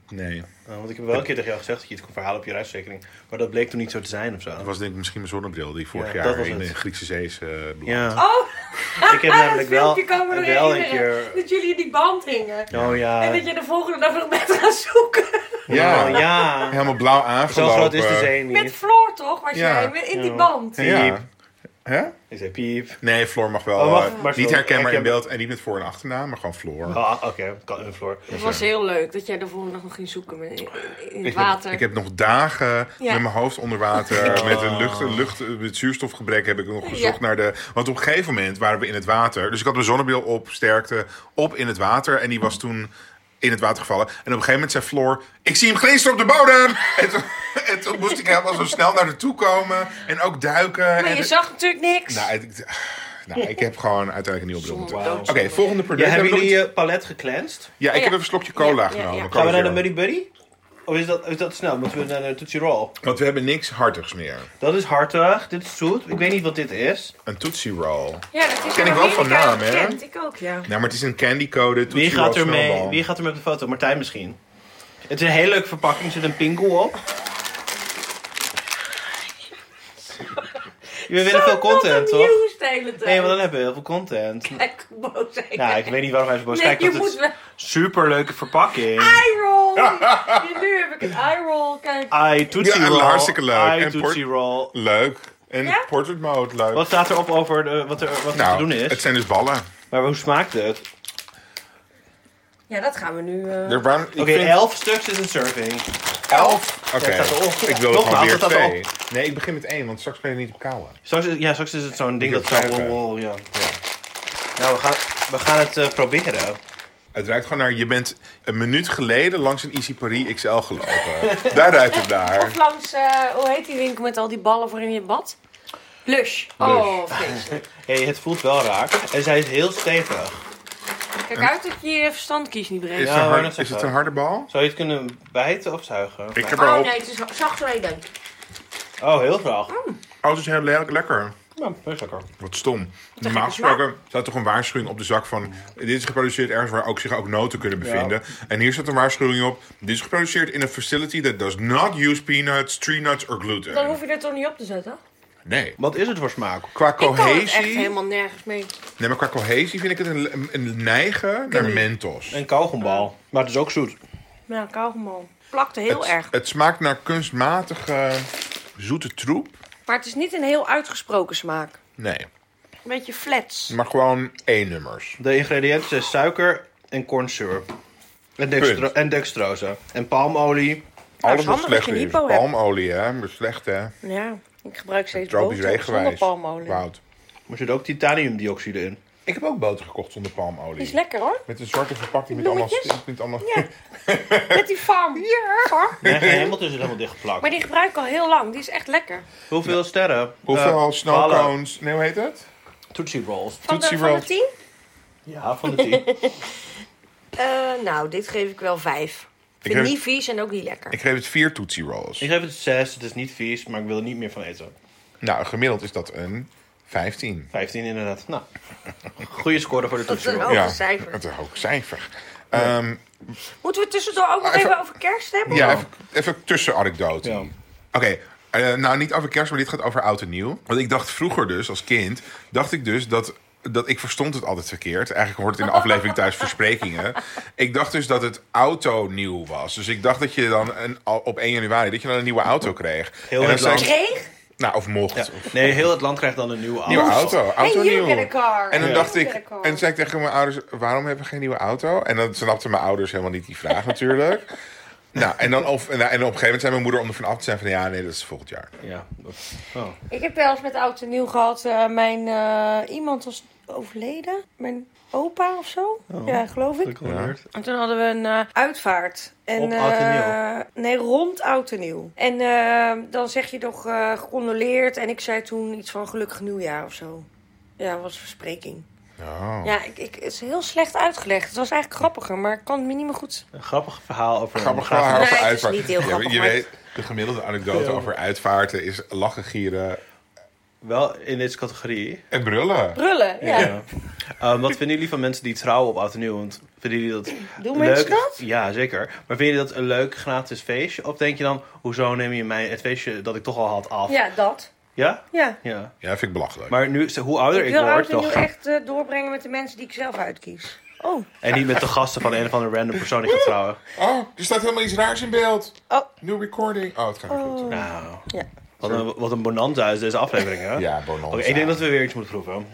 nee. Eh, want ik heb wel een keer tegen jou gezegd dat je het kon verhalen op je reisverzekering. Maar dat bleek toen niet zo te zijn of zo. Dat was denk ik misschien mijn zonnebril die vorig Ja, dat jaar was in de het. Griekse zee is eh, beland. Ja. Oh, <laughs> Ik heb namelijk wel, wel een keer... dat jullie in die band hingen. Oh ja. En dat je de volgende dag nog bent gaan zoeken. Ja. Oh, ja. Helemaal blauw Zo aangelopen. groot is de zee Met niet. Floor toch, was Ja. jij in die Ja. band. Ja. Hè? Ik zei piep. Nee, Floor mag wel. Oh, wacht, eh, maar niet zo- herkenbaar ik in heb- beeld en niet met voor- en achternaam, maar gewoon Floor. Ah, oké. kan Een floor. Het was heel leuk dat jij de volgende dag nog ging zoeken met- in, in het Ik water. heb, ik heb nog dagen met mijn hoofd onder <laughs> water. Met Oh. een lucht, lucht, met zuurstofgebrek heb ik nog gezocht Ja. naar de. Want op een gegeven moment waren we in het water. Dus ik had mijn zonnebril op, sterkte, op in het water. En die was toen in het water gevallen. En op een gegeven moment zei Floor: Ik zie hem glinsteren op de bodem. <laughs> En toen, en toen moest ik helemaal zo snel naar naartoe komen. En ook duiken. maar en je zag natuurlijk niks. nou, ik, nou, ik heb gewoon uiteindelijk een nieuwe bril moeten. Zonder Oké, dood. volgende Ja, product. hebben Hebben we jullie nog je palet gecleansed? iets- Ja, ik Oh, Ja. heb even een slokje cola Ja, ja, genomen. ja. Gaan we Cola naar de Zero. Muddy Buddy? Of is dat, is dat snel? Moeten we naar de Tootsie Roll? Want we hebben niks hartigs meer. Dat is hartig. Dit is zoet. Ik weet niet wat dit is. Een Tootsie Roll. ja, dat is ken in ik wel van Amerika naam, hè? bekend. Ik ook, ja. Nou, maar het is een candycode. Tootsie Wie gaat, Roll er mee, Snowball. wie gaat er met de foto? Martijn misschien. Het is een hele leuke verpakking. Er zit een pinkel <laughs> op. We willen veel content, toch? toch? de hele tijd. Nee, want dan hebben we heel veel content. Kijk, hoe boos hij Nou, ik is. weet niet waarom hij zo boos Nee, kijkt. je want het moet is wel... super leuke verpakking. Eye roll! nu heb ik een eye roll, kijk. Ah. I Tootsie Ja, Roll. hartstikke leuk. I En Tootsie Roll. Leuk. En Ja? portrait mode, leuk. Wat staat erop over de, wat er, wat er nou, te doen is? het zijn dus ballen. Maar hoe smaakt het? Ja, dat gaan we nu... eh, Er waren, ik Oké, vind elf stuks is een serving. elf. Oké, Ja, het staat erop. ik wil er Nogmaals, gewoon weer het staat twee. Nee, ik begin met één, want straks ben je niet op kouwen. Straks is, ja, straks is het zo'n ding Ik dat heb zo... vijf, Wow, wow, ja. Nou, we gaan, we gaan het eh, proberen. Het ruikt gewoon naar, je bent een minuut geleden langs een Easy Paris XL gelopen. Daar ruikt het naar. Of langs, eh, hoe heet die winkel met al die ballen voor in je bad? Lush. Oh, vreselijk. hey, het voelt wel raar. En zij is heel stevig. Kijk uit dat je je verstand kiest niet Is, brengt. het Ja, een hard- dat is is het zo. een harde bal? Zou je het kunnen bijten of zuigen? Ik heb Oh erop. nee, het is zacht reden. Oh, heel graag. Oh, het is heel le- lekker. Ja, best lekker. Wat stom. Normaal gesproken staat toch een waarschuwing op de zak van... dit is geproduceerd ergens waar ook zich ook noten kunnen bevinden. En hier staat een waarschuwing op... dit is geproduceerd in een facility that does not use peanuts, tree nuts or gluten. Dan hoef je er toch niet op te zetten? Nee. Wat is het voor smaak? Qua Ik kan het echt cohesie... helemaal nergens mee. Nee, maar qua cohesie vind ik het een, een- een neigen naar mentos. Een kauwgombal. Maar het is ook zoet. Ja, kauwgombal. Plakte heel Het- erg. Het smaakt naar kunstmatige zoete troep. Maar het is niet een heel uitgesproken smaak. Nee, Een beetje flats. maar gewoon E-nummers. De ingrediënten zijn suiker en cornsyrup. En, dextro- Punt. en dextrose. En palmolie. Alles wat handig Nou, dat slecht je een is. hypo hebt. Palmolie, hè. Maar slecht, hè. Ja, ik gebruik steeds Tropisch boter zonder regenwijs. palmolie. Woud. Er zit ook titaniumdioxide in. Ik heb ook boter gekocht zonder palmolie. Is lekker <laughs> hoor. Met een zwarte verpakking met Die allemaal... bloemetjes? Met allemaal Ja. Met die farm. Ja. Nee, geen hemel tussen helemaal dichtgeplakt. Maar die gebruik ik al heel lang. Die is echt lekker. Hoeveel <laughs> sterren? Hoeveel Eh, snow ballen. cones? Nee, hoe heet het? Tootsie Rolls. Van de, Tootsie van de Roll. tien? Ja, van de <laughs> tien. Eh, nou, dit geef ik wel vijf. Vind geef- niet vies en ook niet lekker. Ik geef het vier Tootsie Rolls. Ik geef het 6, het is niet vies, maar ik wil er niet meer van eten. Nou, gemiddeld is dat een 15. 15 inderdaad. Nou, goede score voor de Dat is toetsen. een hoor. hoge ja, cijfer. Dat is een hoog cijfer. Ehm, Moeten we tussendoor ook nog even over kerst hebben? Ah, ja, even, even tussenanekdote. Ja. Oké, eh, nou niet over kerst, maar dit gaat over oud en nieuw. Want ik dacht vroeger dus, als kind, dacht ik dus dat... Dat ik verstond het altijd verkeerd. Eigenlijk hoort het in de <laughs> aflevering thuis versprekingen. Ik dacht dus dat het auto nieuw was. Dus ik dacht dat je dan een, al op 1 januari dat je dan een nieuwe auto kreeg. Heel en dan het land. zei ik- Kreeg? Nou, of mocht. Ja. Nee, heel het land krijgt dan een nieuwe auto. Nieuwe auto. Auto En you get a nieuw. car. En dan You dacht get ik, a en car. toen zei ik tegen mijn ouders, waarom hebben we geen nieuwe auto? En dan snapten mijn ouders helemaal niet die vraag <laughs> natuurlijk. Nou, en, dan of, en op een gegeven moment zei mijn moeder om ervan af te zijn van ja, nee, dat is volgend jaar. Ja. Oh. Ik heb wel eens met oud en nieuw gehad. eh, mijn eh, iemand was overleden. Mijn opa of zo. Oh, ja, geloof ik. Gecondoleerd. En toen hadden we een eh, uitvaart. En, Op Oud en Nieuw? eh, nee, rond oud en nieuw. En eh, dan zeg je toch eh gecondoleerd. En ik zei toen iets van gelukkig nieuwjaar of zo. Ja, dat was verspreking. Oh. Ja, ik, ik, het is heel slecht uitgelegd. Het was eigenlijk grappiger, maar ik kan het me niet meer goed... Een grappig verhaal over Grappig een begrafenis. verhaal over Nee, het is uitvaart. niet heel Ja, grappig, je maar- weet, de gemiddelde anekdote over uitvaarten is lachen, gieren Wel in deze categorie. en brullen. Brullen, ja. Ehm, wat vinden jullie van mensen die trouwen op oud en nieuw? Want vinden jullie dat Doen leuk? mensen dat? Ja, zeker. Maar vinden jullie dat een leuk gratis feestje? Of denk je dan, hoezo neem je mij het feestje dat ik toch al had af? Ja, dat. Ja? Ja. Ja. Ja, vind ik belachelijk. Maar nu, hoe ouder ik ik, wil word, oud en toch... nieuw echt eh, doorbrengen met de mensen die ik zelf uitkies. Oh, En niet met de gasten van een of andere random persoon die gaat trouwen. Oh, er staat helemaal iets raars in beeld. oh. New recording. Oh, het gaat weer goed. Nou, Ja. wat een, wat een bonanza is deze aflevering, hè? Ja, bonanza. Oké, ik denk dat we weer iets moeten proeven.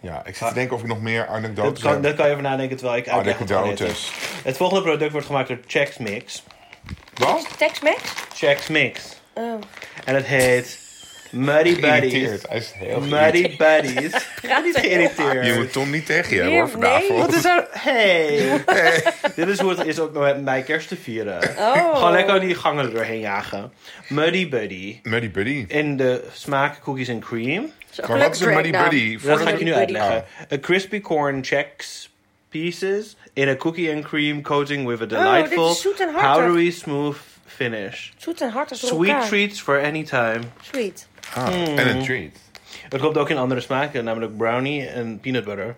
Ja, ik zit te denken of ik nog meer Dat anekdotes kan, heb. dat kan je even nadenken terwijl Oh, ik uitleg wat we gaan Anekdotes. eten. Het volgende product wordt gemaakt door Chex Mix. Wat? Tex-Mex? Chex Mix. Oh. En het heet Muddy Buddies. Geïrriteerd. Hij is heel geïrriteerd. Muddy Buddies. <laughs> Ik ben niet Je geïrriteerd. moet Tom niet tegen je Nee, hoor vanavond. Wat is er? Hey. Dit is hoe het is ook nog met mijn kerst te vieren. Oh. Gewoon lekker die gangen er doorheen jagen. Muddy Buddy. Muddy Buddy. In de smaak cookies and cream. Maar wat is een Muddy nou. Buddy? Dat ga ik je nu Muddy uitleggen. A crispy corn checks pieces in a cookie and cream coating with a Oh, dit is delightful, zoet en hartig. powdery smooth finish. Zoet en hard als door Sweet elkaar. treats for any time. Sweet. Ah, En een treat. Het komt ook in andere smaken, namelijk brownie en peanut butter.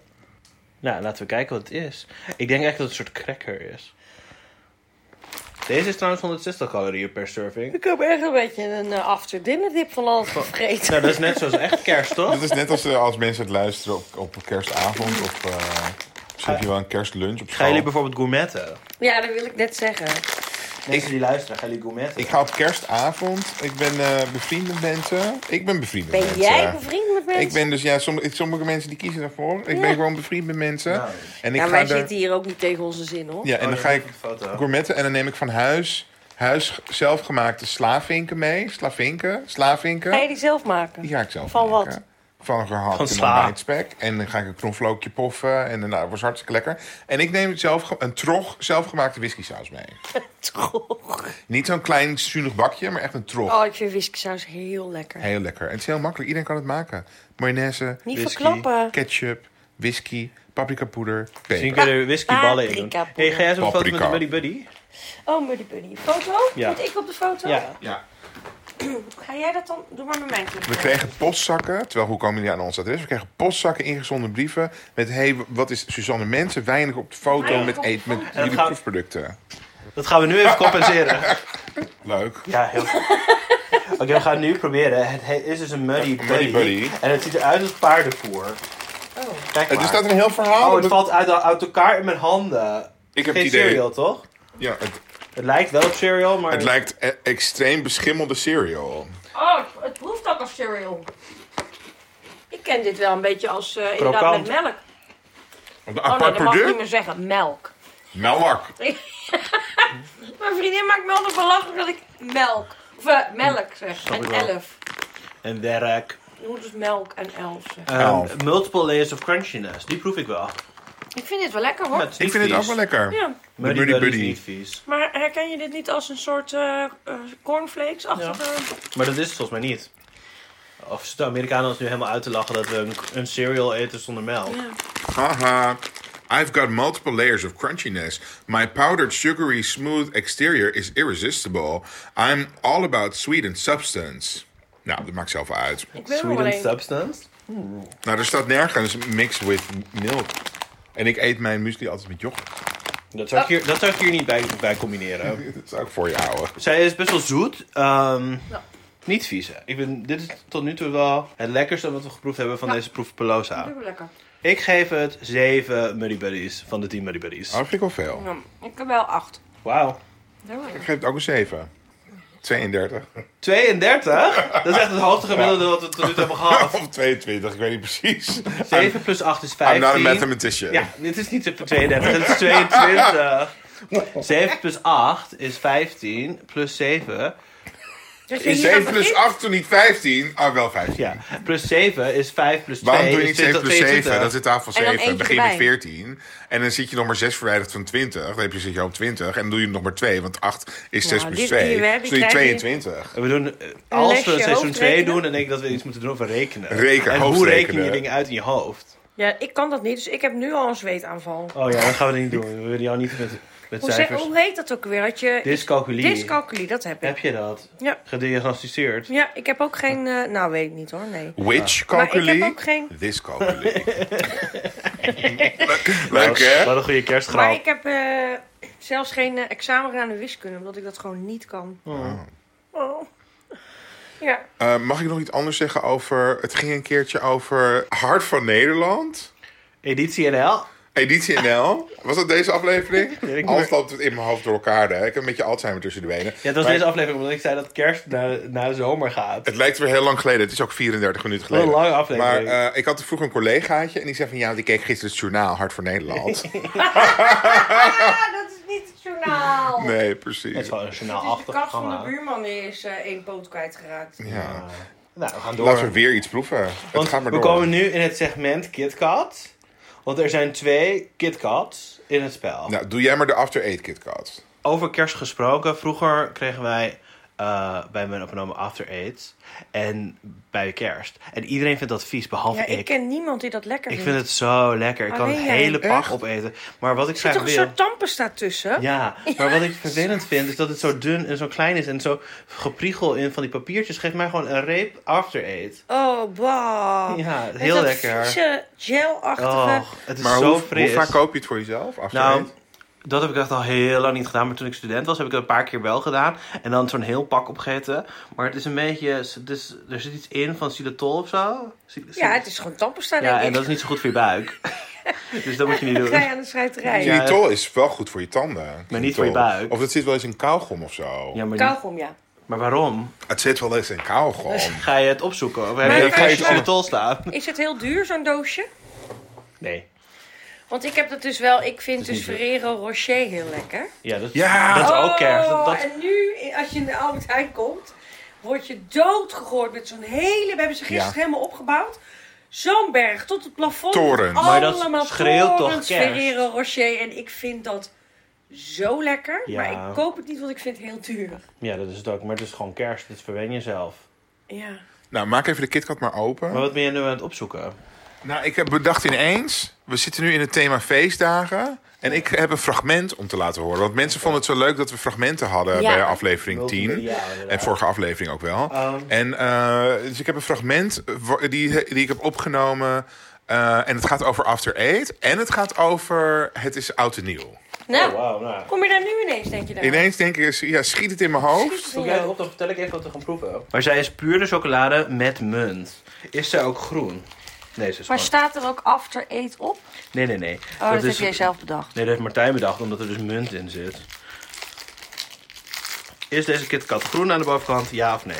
Nou, laten we kijken wat het is. Ik denk eigenlijk dat het een soort cracker is. Deze is trouwens 160 calorieën per serving. Ik heb echt een beetje een eh, after dinner dip van alles vergeten. Nou, dat is net zoals echt kerst, toch? Dat is net als, eh, als mensen het luisteren op, op kerstavond of eh misschien heb je wel een kerstlunch op Gaan school. jullie bijvoorbeeld gourmetten? Ja, dat wil ik net zeggen. Mensen die luisteren, gaan jullie gourmetten? Ik ga op kerstavond. Ik ben eh bevriend met mensen. Ik ben bevriend met Ben mensen. jij bevriend met mensen? Ik ben dus, ja, sommige, sommige mensen die kiezen daarvoor. Ik ben gewoon bevriend met mensen. Nou. En ik Ja, ga wij daar, zitten hier ook niet tegen onze zin, hoor. ja, en Oh, dan ja, ga ik even de foto. gourmetten en dan neem ik van huis, huis zelfgemaakte slavinken mee. Slavinken, slavinken. Ga je die zelf maken? Die ga ik zelf Van maken. wat? Van Van gehakt en sla. ontbijtspek. En dan ga ik een knoflookje poffen. En dan, nou, dat was hartstikke lekker. En ik neem zelf ge- een trog zelfgemaakte whiskysaus mee. Trog. Niet zo'n klein zuinig bakje, maar echt een trog. Oh, ik vind whiskysaus heel lekker. Heel lekker. En het is heel makkelijk. Iedereen kan het maken. Mayonaise, Niet Whisky. verklappen. ketchup, whisky, paprikapoeder, Misschien peper. kun je er whiskyballen in doen. Paprika hey, ga jij zo'n foto met Paprika. een buddy buddy? Oh, Muddy Buddy. Foto? Ja. Moet ik op de foto? Ja. Ja. Ga jij dat dan? Doe maar met mijn telefoon. We kregen postzakken, terwijl hoe komen jullie aan ons adres? We kregen postzakken ingezonden brieven met... hey, wat is Suzanne Mensen? Weinig op de foto Weinig met, op de eet, met foto. jullie gaan- proefproducten. Dat gaan we nu even <laughs> compenseren. Leuk. Ja, heel goed. Oké, we gaan het nu proberen. Het he- is dus een Muddy Buddy. Buddy. En het ziet eruit als paardenvoer. Kijk Het maar. is Eh, staat een heel verhaal. Oh, het Dat- valt uit, uit elkaar in mijn handen. Ik heb Geen het idee. cereal, toch? Ja, het, Het lijkt wel op cereal, maar... het lijkt e- extreem beschimmelde cereal. Oh, het proeft ook als cereal. Ik ken dit wel een beetje als eh, inderdaad Krokant. met melk. Een Oh nee, apart dat mag ik niet product? Nou, meer zeggen. Melk. Melk. Mijn vriendin maakt me altijd belachelijk dat ik melk. Of eh, melk zeg. Snap ik En wel. elf. En werk. Je moet dus melk en elf zeggen. Ehm, Elf. multiple layers of crunchiness. Die proef ik wel. Ik vind dit wel lekker hoor. Het is Ik niet vind het vies. ook wel lekker. Ja. Muddy, Muddy Buddy is Buddy. niet vies. Maar herken je dit niet als een soort eh, eh, cornflakes-achtige... Maar dat is het volgens mij niet. Of zitten de Amerikanen ons nu helemaal uit te lachen dat we een, een cereal eten zonder melk? Ja. Haha. I've got multiple layers of crunchiness. My powdered, sugary, smooth exterior is irresistible. I'm all about sweet and substance. Nou, dat maakt zelf wel uit. Ik ben er Sweet wel and een. substance? Nou, er staat nergens mixed with milk. En ik eet mijn muesli altijd met yoghurt. <laughs> Dat zou ik hier, dat zou ik hier niet bij, bij combineren. <laughs> Dat is ook voor je ouwe. Zij is best wel zoet. ehm, Ja. Niet vies. hè. Ik ben, dit is tot nu toe wel het lekkerste wat we geproefd hebben van Ja. deze proef Pelosa. Dubbel lekker. Ik geef het 7 Muddy Buddies van de 10 Muddy Buddies. Dat vind ik wel veel. Ja, ik heb wel acht. Wauw. Heel lekker. Ik geef het ook een 7. 32. 32? Dat is echt het hoogste gemiddelde wat we tot nu toe <laughs> hebben gehad. <laughs> Of 22, ik weet niet precies. 7 plus 8 is I'm not a 15. mathematician. <laughs> Ja, dit is niet 32, dit is 22. 7 plus 8 is 15, plus 7 Dus je Is hier aan 7 plus begint? 8 toen niet 15? Ah, wel 15. Ja, plus 7 is 5 plus 2 Waarom doe je is dus niet 7 plus 7? 22. Dat is tafel En dan 7. eentje Begin met erbij. 14. En dan zit je nog maar 6 verwijderd van 20. Dan heb je, zit je op 20. En dan doe je nog maar 2. Want 8 is 6 Nou, plus dit- hier, 2. hè, die Dus doe je krijg je- 22. We doen, eh, als lesje we seizoen 2 hoofdrekenen. doen, dan denk ik dat we iets moeten doen over rekenen. Rekenen, en hoe hoofdrekenen. reken je dingen uit in je hoofd? Ja, ik kan dat niet, dus ik heb nu al een zweetaanval. Oh ja, dat gaan we niet doen. We willen jou niet met, met Hoe, ze- cijfers. hoe heet dat ook weer? Dat je Dyscalculie. dyscalculie, dat heb ik. Heb je dat? Ja. Gediagnosticeerd? Ja, ik heb ook geen... eh, nou, weet ik niet hoor, nee. Which Maar ik heb calculie? ook geen- This <laughs> calculie. Leuk, Leuk hè? Wat een goede Maar kerstgrap. ik heb eh, zelfs geen eh, examen aan de wiskunde, omdat ik dat gewoon niet kan. Oh. Ja. Eh, mag ik nog iets anders zeggen over... Het ging een keertje over Hart van Nederland. Editie NL? Editie NL. Was dat deze ik aflevering? weet- Alles loopt het in mijn hoofd door elkaar. Hè? Ik heb een beetje Alzheimer tussen de benen. Ja, het was Maar deze aflevering omdat ik zei dat kerst naar, naar de zomer gaat. Het lijkt weer heel lang geleden. Het is ook 34 minuten Wat een geleden. lange aflevering. Maar eh, ik had vroeger een collegaatje en die zei van... Ja, die keek gisteren het journaal Hart voor <laughs> Nederland. Ah, dat is niet het journaal. nee, Dat is precies. wel een Dus de journaalachtig kat van de programma. buurman is eh één poot kwijtgeraakt. Ja. Nou, we gaan door. Laten we weer iets proeven. het Want gaat maar we door. komen nu in het segment KitKat. Want er zijn twee KitKats in het spel. Nou, doe jij maar de After Eight KitKat. Over kerst gesproken. Vroeger kregen wij eh, bij mijn opgenomen After Eight. En bij kerst. En iedereen vindt dat vies, behalve Ja, ik. ik ken niemand die dat lekker Ik vindt. vind het zo lekker. Ik kan Alleen een jij. hele pak Echt? opeten. Maar wat ik Er zit graag toch een wil... soort tandpasta tussen? <laughs> Ja, maar wat ik vervelend vind is dat het zo dun en zo klein is en zo gepriegel in van die papiertjes. Geef mij gewoon een reep after eat. Oh, bah. Ja, Met heel dat lekker. Oh, vieze, gelachtige... Och, het is Maar zo hoe, hoe fris. vaak koop je het voor jezelf? After Nou, Eight? dat heb ik echt al heel lang niet gedaan. Maar toen ik student was, heb ik het een paar keer wel gedaan. En dan zo'n heel pak opgegeten. Maar het is een beetje... Het is, er zit iets in van xylitol of zo. Xy- Ja, het is gewoon tandpasta, denk Ja, ik. en dat is niet zo goed voor je buik. dus dat moet je niet <laughs> Dan doen. ga je aan de schrijterij. Ja. Xylitol is wel goed voor je tanden. Maar niet voor je Xylitol. buik. Of het zit wel eens in kauwgom of zo. Ja, maar, niet- Kauwgom, ja. maar waarom? Het zit wel eens in kauwgom. <laughs> Ga je het opzoeken? Of heb Nee, je ik ga een het- xylitol staan? Is het heel duur, zo'n doosje? Nee. Want ik heb dat dus wel... Ik vind is dus niet Ferrero Rocher heel lekker. Ja, dat, Ja! dat is ook kerst. Dat, dat- Oh, En nu, als je in de Albert Heijn komt... word je doodgegooid met zo'n hele... We hebben ze gisteren Ja. helemaal opgebouwd. Zo'n berg tot het plafond. Toren. Maar dat Allemaal schreeuwt toch torens kerst? Ferrero Rocher. En ik vind dat zo lekker. Ja. Maar ik koop het niet, want ik vind het heel duur. Ja, dat is het ook. Maar het is gewoon kerst. Dit verwen je zelf. Ja. Nou, maak even de KitKat maar open. Maar wat ben je nu aan het opzoeken? Nou, ik heb bedacht ineens. We zitten nu in het thema feestdagen. En ik heb een fragment om te laten horen. Want mensen vonden het zo leuk dat we fragmenten hadden Ja. bij aflevering Multimedia, 10. inderdaad. En vorige aflevering ook wel. Um. En eh, dus ik heb een fragment eh, wa- die, die ik heb opgenomen. eh, en het gaat over After Eight. En het gaat over Het is oud en nieuw. Nou, wauw. Nou. kom je daar nu ineens, denk je daar? Ineens denk ik, ja, schiet het in mijn hoofd. Zoek jij het op, dan vertel ik even wat we gaan proeven. Maar zij is puur de chocolade met munt. Is zij ook groen? Nee, ze is Maar gewoon- staat er ook after eat op? Nee, nee, nee. Oh, dat, is... heb jij zelf bedacht. Nee, dat heeft Martijn bedacht, omdat er dus munt in zit. Is deze KitKat groen aan de bovenkant? Ja of nee?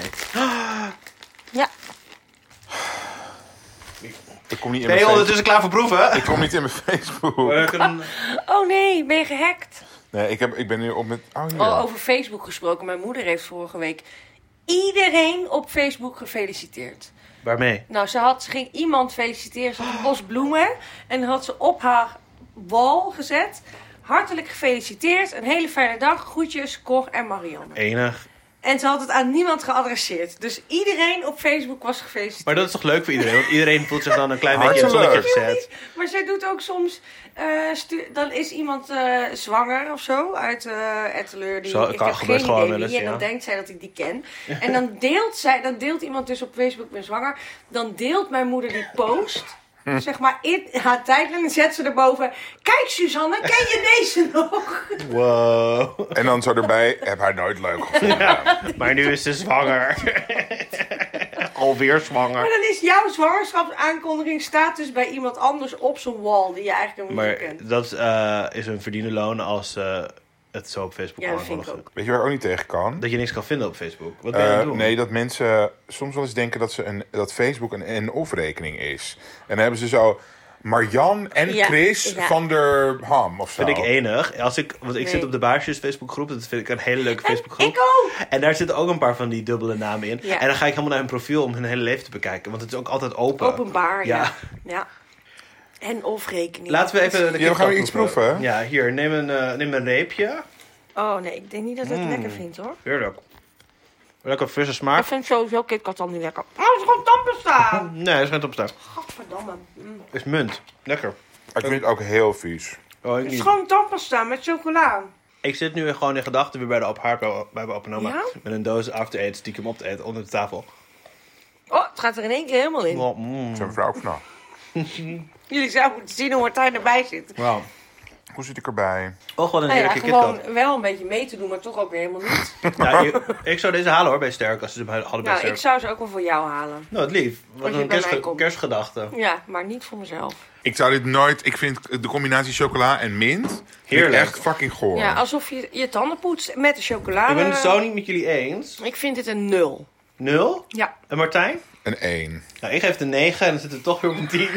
Ja. Ik kom niet in Ben mijn, je face- ondertussen klaar voor proeven? ik kom niet in mijn Facebook. We kunnen- Oh nee, ben je gehackt? Nee, ik, heb, ik ben nu op met... Oh, hier. Al over Facebook gesproken. Mijn moeder heeft vorige week iedereen op Facebook gefeliciteerd. Waarmee? Nou, ze, had, ze ging iemand feliciteren. Ze had een bos bloemen. En had ze op haar wal gezet. Hartelijk gefeliciteerd. Een hele fijne dag. Groetjes, Cor en Marianne. Enig. En ze had het aan niemand geadresseerd. Dus iedereen op Facebook was gefeliciteerd. Maar dat is toch leuk voor iedereen? Want iedereen voelt zich dan een klein beetje in het Hartelijk. zonnetje gezet. Maar zij doet ook soms. eh, stu- dan is iemand eh, zwanger of zo uit eh Etteleur. Die, Zo, ik kan- heb gebeurt geen gewoon idee wel eens, wie, En dan ja. denkt zij dat ik die ken. En dan deelt zij, dan deelt iemand dus op Facebook ik ben zwanger. Dan deelt mijn moeder die post. Hm. Zeg maar in haar tijdlijn en zet ze erboven. Kijk, Suzanne, ken je deze nog? Wow. En dan zo erbij, heb haar nooit leuk gevonden. Maar nu is ze zwanger. Alweer zwanger. Maar dan is jouw zwangerschapsaankondiging staat dus bij iemand anders op zo'n wall die je eigenlijk helemaal niet Maar kent. dat eh, is een verdiende loon als eh, het zo op Facebook Ja, kan dat vind ik aankondigen. ook. Weet je waar ik ook niet tegen kan? Dat je niks kan vinden op Facebook. Wat ben je aan het Eh, doen? nee, dat mensen soms wel eens denken dat, ze een, dat Facebook een en-of rekening is. En dan hebben ze zo... Marjan en Ja, Chris ja. van der Ham of zo. Vind ik e- enig. Als ik, want ik Nee. zit op de Baarsjes Facebookgroep. Dat vind ik een hele leuke Facebookgroep. <laughs> Ik ook! En daar zitten ook een paar van die dubbele namen in. Ja. En dan ga ik helemaal naar hun profiel om hun hele leven te bekijken. Want het is ook altijd open. Openbaar, ja. Ja. ja. En of rekening. Laten we even... de Ja, we gaan weer iets kipkak proeven, Ja, hier. Neem een, eh, neem een reepje. Oh nee, ik denk niet dat ik het Hmm. lekker vind hoor. Heerlijk. Lekker frisse Ik smaak. vind sowieso KitKat al niet lekker. Oh, het is gewoon tandpasta! Nee, dat is geen topstar. <laughs> Gadverdamme. Mm. is munt. Lekker. Ik vind het ook heel vies. Oh, ik Het is niet. gewoon tandpasta met chocola. Ik zit nu gewoon in gedachten weer bij de op haar, bij de opname. Ja? Met een doos after eight stiekem op te eten onder de tafel. Oh, het gaat er in één keer helemaal in. Oh, mm. Zijn vrouw ook vanaf. Jullie zouden moeten zien hoe Martijn erbij zit. Wow. Hoe zit ik erbij? Oh, wat een Nou ja, heerlijke KitKat. gewoon wel een beetje mee te doen, maar toch ook weer helemaal niet. Ja, ik, ik zou deze halen hoor bij Sterk, als ze hem hadden bij <laughs> Nou, ik Sterk. zou ze ook wel voor jou halen. Nou, het lief. Wat Als je een bij kerstge- mij komt. kerstgedachte. Ja, maar niet voor mezelf. Ik zou dit nooit... Ik vind de combinatie chocola en mint... vind ik Heerlijk. Echt fucking goor. Ja, alsof je je tanden poetst met de chocolade. Ik ben het zo niet met jullie eens. Ik vind dit een nul. Nul. Ja. En Martijn? Een één. Nou, ik geef het een 9 en dan zit er toch weer op een <laughs> 10.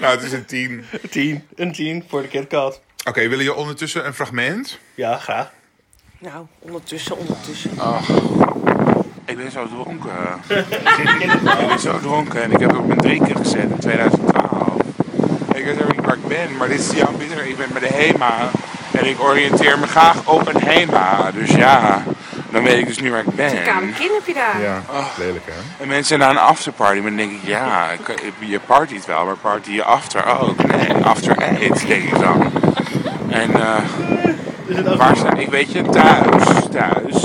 Nou, het is een tien. Oké, Een 10. Een 10 voor de KitKat. willen je ondertussen een fragment? Ja, graag. Nou, ondertussen, ondertussen. Oh. Ik ben zo dronken. ik ben zo dronken en ik heb het op mijn drinken gezet in 2012. Ik weet ook niet waar ik ben, maar dit is Jan Pieter. Ik ben bij de HEMA en ik oriënteer me graag op een HEMA. Dus ja, dan weet ik dus niet waar ik ben. Kamerkin heb je daar. Ja. Ah. Lelijk, hè? Nou, En mensen naar een afterparty, maar dan denk ik, ja, ik- ik- je partyt wel, maar party je after ook. Nee, after eight, denk ik dan. En eh waar sta ik? Weet je, thuis, thuis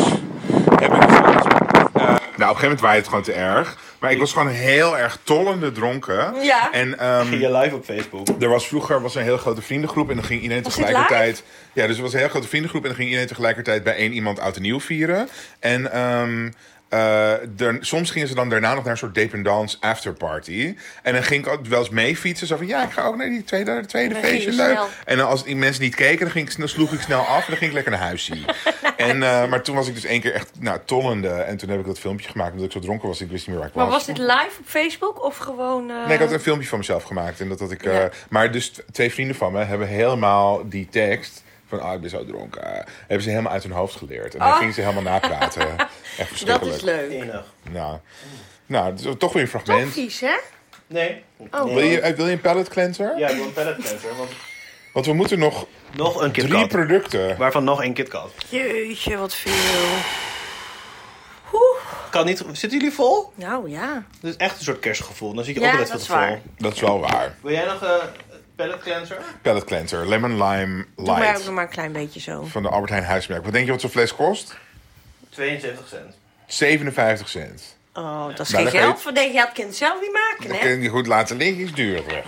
heb ik volgens mij, eh, Nou, op een gegeven moment waait het gewoon te erg. Maar ik was gewoon heel erg tollende dronken. Ja. En ehm, Ging je live op Facebook. Er was vroeger was een heel grote vriendengroep en dan ging iedereen Was dit tegelijkertijd. Ja, dus er was een heel grote vriendengroep en dan ging iedereen tegelijkertijd bij één iemand oud en nieuw vieren. En ehm, eh, er- soms gingen ze dan daarna nog naar een soort dependance afterparty. En dan ging ik ook wel eens mee fietsen. Zo van ja, ik ga ook naar die tweede, tweede Dan feestje. ging je Leuk. snel. En dan als die mensen niet keken, dan, ging ik, snel- sloeg ik snel af en dan ging ik lekker naar huis <laughs> zien. en, eh, maar toen was ik dus één keer echt nou, tollende. En toen heb ik dat filmpje gemaakt omdat ik zo dronken was. Ik wist niet meer waar ik Maar was dit live op Facebook of gewoon... eh, Nee, ik had een filmpje van mezelf gemaakt. En dat had ik, eh, Ja. maar dus t- twee vrienden van me hebben helemaal die tekst van ah, ik ben zo dronken. eh, hebben ze helemaal uit hun hoofd geleerd. En dan Ah. gingen ze helemaal <laughs> napraten. Echt Dat verschrikkelijk. is leuk. Enig. Nou, nou dus toch weer een Toch fragment. vies, hè? Nee. Oh. Nee. Wil je, eh, wil je een pallet cleanser? Ja, ik wil een pallet cleanser, want Want we moeten nog nog een KitKat. drie producten. Waarvan nog één KitKat. Jeetje, wat veel. Oeh. Kan niet... Zitten jullie vol? Nou ja. Dit is echt een soort kerstgevoel. Dan zit je Ja, ook net dat wat is vol. waar. Dat is wel waar. Wil jij nog eh, een pallet cleanser? Pallet cleanser, lemon lime Doe maar ook light. nog maar een klein beetje zo. Van de Albert Heijn huismerk. Wat denk je wat zo'n fles kost? 72 cent. 57 cent. Oh, dat is Nou, geen dan geld. geef- Van denk je, dat kind zelf niet maken, Dan hè? kun je goed laten liggen, is duur weg.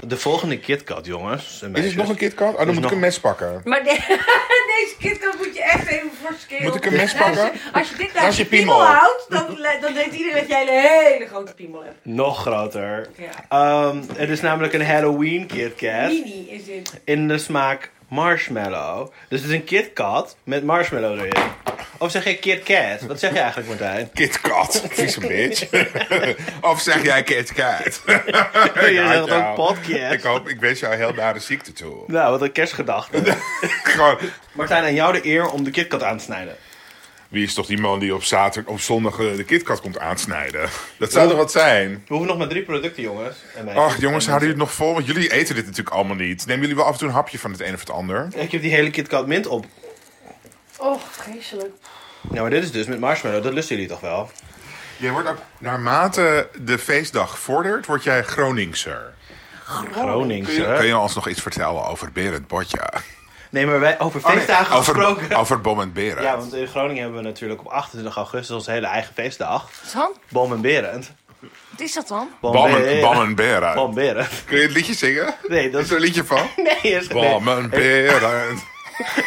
De volgende KitKat, jongens. en Is meisjes. het nog een KitKat? Oh, dan Is moet nog- ik een mes pakken. Maar de- <laughs> deze KitKat moet je echt even voorskelen. Moet ik een mes pakken? Als je dit Dat naar is je je piemel, piemel. houdt, dan, dan denkt iedereen dat jij een hele grote piemel hebt. Nog groter. Ja. Ehm, het is namelijk een Halloween KitKat Mini is dit. in de smaak marshmallow. Dus het is een KitKat met marshmallow erin. Of zeg je KitKat? Wat zeg je eigenlijk, <laughs> Martijn? <laughs> KitKat, vieze bitch. <laughs> of zeg jij <laughs> KitKat? Je zegt Nou, ook Ik podcast. hoop, ik wens jou heel nare ziekte toe. Nou, wat een kerstgedachte. <laughs> Gewoon, Martijn, aan jou de eer om de KitKat aan te snijden. wie is toch die man die op, zaterdag, op zondag eh, de KitKat komt aansnijden? Dat zou toch wat zijn? We hoeven nog maar drie producten, jongens. en meisjes. Ach, jongens, houden jullie het nog vol? Want jullie eten dit natuurlijk allemaal niet. Nemen jullie wel af en toe een hapje van het een of het ander? Ik heb die hele KitKat mint op. Oh, vreselijk. Nou, maar dit is dus met marshmallow. Dat lusten jullie toch wel? Jij wordt ook... Naarmate de feestdag vordert, word jij Groningser. Kun Groningse. je ons nog iets vertellen over Berend Botja? Nee, maar wij over Oh, nee, feestdagen gesproken. over, Oh. over Bom en Berend. Ja, want in Groningen hebben we natuurlijk op 28 augustus onze hele eigen feestdag. San, Boom en Berend. wat is dat dan? Boom Bom en, Berend. Bom <laughs> en Berend. Boom Berend. Kun je het liedje zingen? Nee, dat Is er een liedje van? Nee, is... nee, Bom en Berend.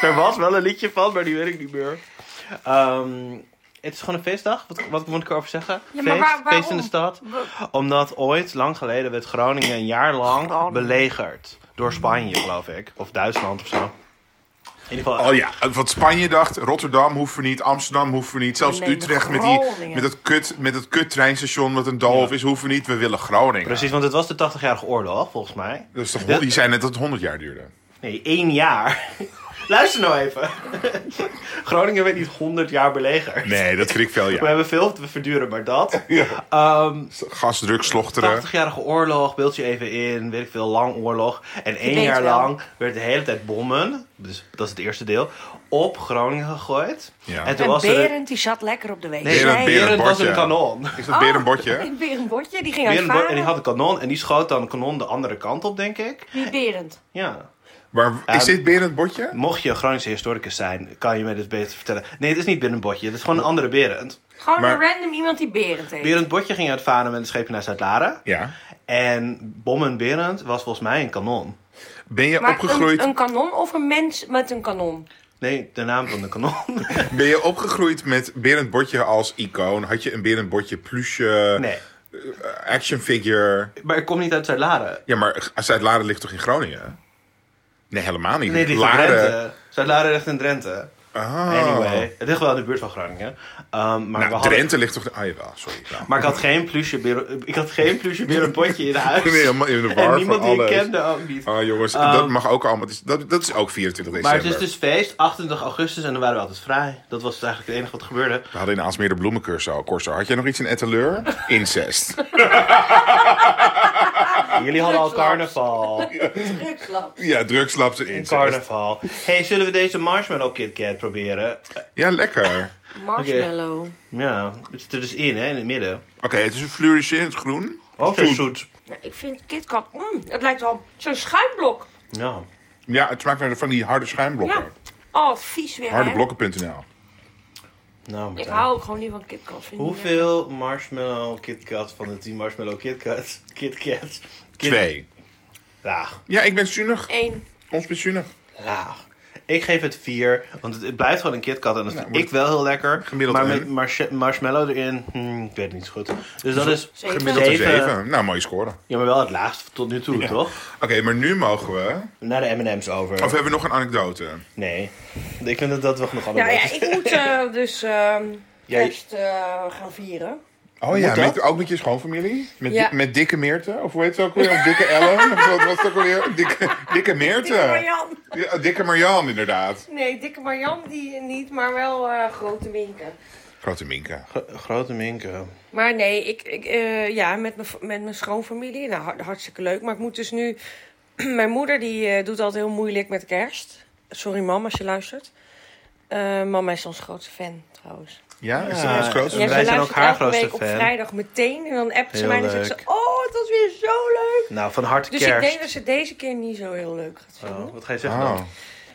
er was wel een liedje van, maar die weet ik niet meer. Ehm, het is gewoon een feestdag. Wat, wat moet ik erover zeggen? Ja, maar feest, waar- waarom? feest in de stad. Omdat ooit, lang geleden, werd Groningen een jaar lang belegerd. Door Spanje, geloof ik. Of Duitsland of zo. In ieder geval, Oh ja, wat Spanje dacht, Rotterdam hoeven we niet, Amsterdam hoeven we niet, zelfs Nee, Utrecht met, die, Groningen. met, het kut, met het kut treinstation wat een doolhof is, hoeven we niet, we willen Groningen. precies, want het was de 80-jarige oorlog, volgens mij. Dus toch, die zei net dat het 100 jaar duurde. Nee, één jaar. <laughs> Luister nou even. <laughs> Groningen werd niet 100 jaar belegerd. Nee, dat vind ik veel We ja. hebben veel te verdurend, maar dat. <laughs> Ja. Ehm, Gasdruk, slochteren. 80-jarige oorlog, beeld je even in, weet ik veel, lang oorlog. En één weet jaar wel. lang werd de hele tijd bommen, dus dat is het eerste deel, op Groningen gegooid. Ja. En toen En was er... Berend die zat lekker op de weg. Nee, Berend- Berend, Berend was een Botje. kanon. Is dat weer een bordje? hè? <laughs> Oh, Berend Botje, die ging Berend uit Bo- varen. en die had een kanon en die schoot dan een kanon de andere kant op, denk ik. Wie Berend? Ja. Maar is dit Berend Botje? Mocht je een Groningse historicus zijn, kan je mij dit beter vertellen. Nee, het is niet Berend Botje, het is gewoon een andere Berend. Gewoon Maar- een random iemand die Berend heet. Berend Botje ging uitvaren met een scheepje naar Zuid-Laren. Ja. En Bommen Berend was volgens mij een kanon. Ben je maar opgegroeid een, een kanon of een mens met een kanon? Nee, de naam van de <laughs> kanon. Ben je opgegroeid met Berend Botje als icoon? Had je een Berend Botje plusje, eh, Nee, action figure? maar ik kom niet uit Zuid-Laren. Ja, maar Zuid-Laren ligt toch in Groningen? Nee, helemaal niet. Nee, die ligt in Drenthe. Zuid-Laren ligt in Drenthe. Ah. Anyway, het ligt wel in de buurt van Groningen. Ehm, maar, we Nou, hadden- Drenthe ligt toch... Ah, jawel, sorry. Nou. maar ik had geen plusje beer, ik had geen plusje beer een potje <laughs> in huis. Ik ben helemaal <laughs> in de war en niemand van die alles. ik kende ook niet. Ehm. Ah, jongens, dat mag ook allemaal. Dat is, dat, dat is ook 24 maar december. het is dus feest, 28 augustus en dan waren we altijd vrij. Dat was eigenlijk het enige wat gebeurde. We hadden in Aalsmeer de bloemencursus al. Corso, had jij nog iets in <laughs> Etteleur? Incest. Ah, Jullie hadden al <laughs> carnaval. Drugslab. Ja, drugslabs en incest. Carnaval. hey, zullen we deze Marshmallow Kit Kat proberen? Ja, lekker. Marshmallow. Ja, het zit er dus in, hè, in het midden. Oké, het is een fluorescerend groen. Ook zo zoet. Nou, ik vind KitKat, mm, het lijkt wel zo'n schuimblok. Ja. Ja, het smaakt naar de- van die harde schuimblokken. Ja. Oh, vies weer. hè? Hardeblokken.nl. Nou, Ik Martijn. hou ook gewoon niet van KitKat. vind ik niet Hoeveel marshmallow KitKat van de 10 marshmallow KitKat? KitKat. Kit- Twee. Laag. Ja, ik ben zuinig. lekker. Eén. Ons bent zuinig. Laag. Ik geef het 4, want het, het blijft gewoon een KitKat en dat vind moet ik wel heel lekker. Gemiddeld maar een. met marsh- marshmallow erin, hmm, ik weet het niet zo goed. Dus dat is Zeven. Dat Gemiddeld is een zeven. zeven. Nou, mooie score. Oké, Ja, maar wel het laagst tot nu toe, toch? maar nu mogen we... Naar de M&M's over. Of hebben we nog een anekdote? Nee. Ik vind dat, dat we nog allemaal Nou Ja, ja, ik moet <laughs> eh, dus ehm Jij- kerst eh, gaan vieren. Oh ja, Moet dat? met, ook met je schoonfamilie? Met, Ja. di- met dikke Meerte? Of hoe heet ze ook weer? Of dikke Ellen? Of wat was het ook alweer? Dikke, dikke Meerte. Dikke Marjan. Ja, oh, dikke Marjan, inderdaad. Nee, dikke Marjan die niet, maar wel eh, grote minken. Grote Minka. Grote minken. Maar nee, ik, ik, eh, ja, met mijn v- met mijn schoonfamilie. Nou, hart- hartstikke leuk. Maar ik moet dus nu... <clears throat> mijn moeder die eh, doet altijd heel moeilijk met kerst. Sorry mam, als je luistert. Eh, mama is ons grootste fan, trouwens. Ja, is dat Ja, ons grootste? ja. ze Dus zijn ook luistert haar elke grootste week op fan. vrijdag meteen. En dan appt ze Heel mij en dan zegt ze... leuk. Oh, het was weer zo leuk! Nou, van harte Dus ik kerst. denk dat ze deze keer niet zo heel leuk gaat vinden. Oh, wat ga je zeggen Oh, dan?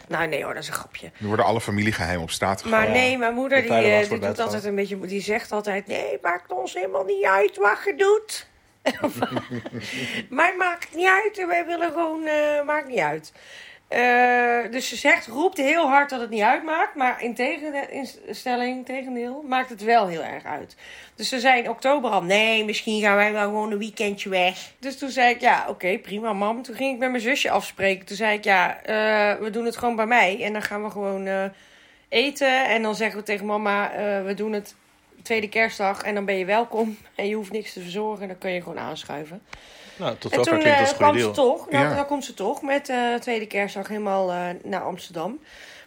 Nou nee hoor, dat is een grapje. nu worden alle familiegeheimen op straat gegooid. Maar nee, mijn moeder De die, vuile was eh, wordt die doet buitengehaald. altijd een beetje, die zegt altijd: nee, maakt ons helemaal niet uit wat je doet. <laughs> maar maakt niet uit, en wij willen gewoon, eh, maakt niet uit. Eh, dus ze zegt, roept heel hard dat het niet uitmaakt, maar in tegenstelling, tegendeel, maakt het wel heel erg uit. Dus ze zei in oktober al, nee, misschien gaan wij wel gewoon een weekendje weg. Dus toen zei ik, ja, oké, prima, mam. Toen ging ik met mijn zusje afspreken. Toen zei ik, ja, eh, we doen het gewoon bij mij en dan gaan we gewoon eh, eten. En dan zeggen we tegen mama, eh, we doen het tweede kerstdag en dan ben je welkom. En je hoeft niks te verzorgen en dan kun je gewoon aanschuiven. Nou, tot En zover toen klinkt eh, dat een kwam goede ze deal. toch, nou, Ja. dan komt ze toch met eh tweede kerstdag helemaal eh, naar Amsterdam.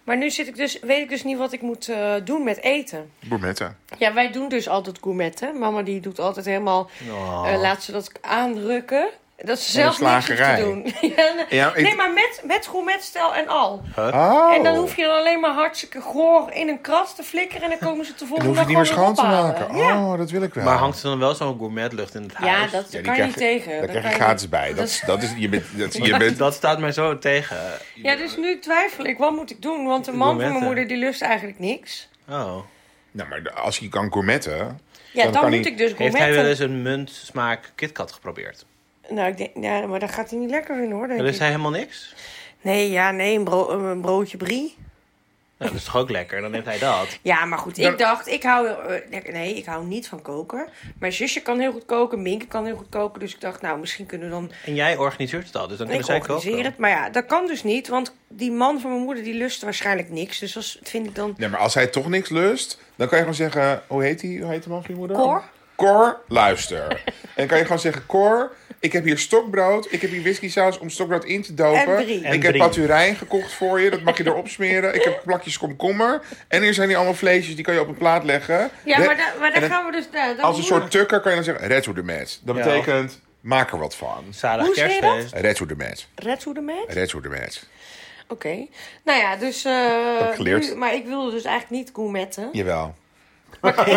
Maar nu zit ik dus, weet ik dus niet wat ik moet eh, doen met eten. Gourmetten. Ja, wij doen dus altijd gourmetten. Mama die doet altijd helemaal, eh, laat ze dat aanrukken. Dat ze Van Oh. de zelf niks hoeft te slagerij. doen. <laughs> Ja, nee, Ja, ik- Nee, maar met, met gourmetstel en al. Oh. En dan hoef je dan alleen maar hartstikke goor in een krat te flikkeren. En dan komen ze te Dan volgende hoef je het niet meer dag gewoon schoon te weer maken. ophalen. Ja. Oh, dat wil ik wel. Maar hangt er dan wel zo'n gourmetlucht in het huis? Ja, dat Ja, die kan je krijg niet tegen. Daar Dat krijg je kan je gratis niet- bij. Dat, is- dat is, je bent, dat, <laughs> je bent, Dat staat mij zo tegen. Ja, dus nu twijfel ik, wat moet ik doen? Want de man van Gourmetten. mijn moeder die lust eigenlijk niks. Oh. nou, maar als je kan gourmetten... Ja, Dan dan, kan moet hij- ik dus Heeft hij gourmetten. wel eens een muntsmaak KitKat geprobeerd? Nou, ik denk, ja, maar daar gaat hij niet lekker in hoor, denk En ik. is hij helemaal niks? Nee, ja, nee, een, bro- een broodje brie. Nou, dat is toch ook lekker? Dan neemt hij dat. Ja, maar goed, ik dacht, ik hou, eh, nee, ik hou niet van koken. Mijn zusje kan heel goed koken, Minke kan heel goed koken. Dus ik dacht, nou, misschien kunnen we dan En jij organiseert het al, dus dan kunnen Ik zij koken. organiseer het, maar ja, dat kan dus niet, want die man van mijn moeder die lust waarschijnlijk niks. Dus dat vind ik dan. Nee, maar als hij toch niks lust, dan kan je gewoon zeggen... Hoe heet die, hoe heet de man van je moeder? Cor? Cor, luister. en dan kan je gewoon zeggen, Cor, ik heb hier stokbrood. Ik heb hier whiskysaus om stokbrood in te dopen. En drie. En ik heb drie. paturijn gekocht voor je, dat mag je erop smeren. Ik heb plakjes komkommer. En hier zijn die allemaal vleesjes, die kan je op een plaat leggen. Ja, Re- maar, da- maar en dan- daar gaan we dus. nou, dat Als een moet- soort tukker kan je dan zeggen, red hoe de match. Dat Ja. betekent, maak er wat van. Zalig Hoe zei je dat? kerstfeest. Red hoe de match. Red hoe de match? Red hoe de match. Oké. Nou ja, dus. eh, Heb ik geleerd. nu- maar ik wilde dus eigenlijk niet gourmetten. Jawel. maar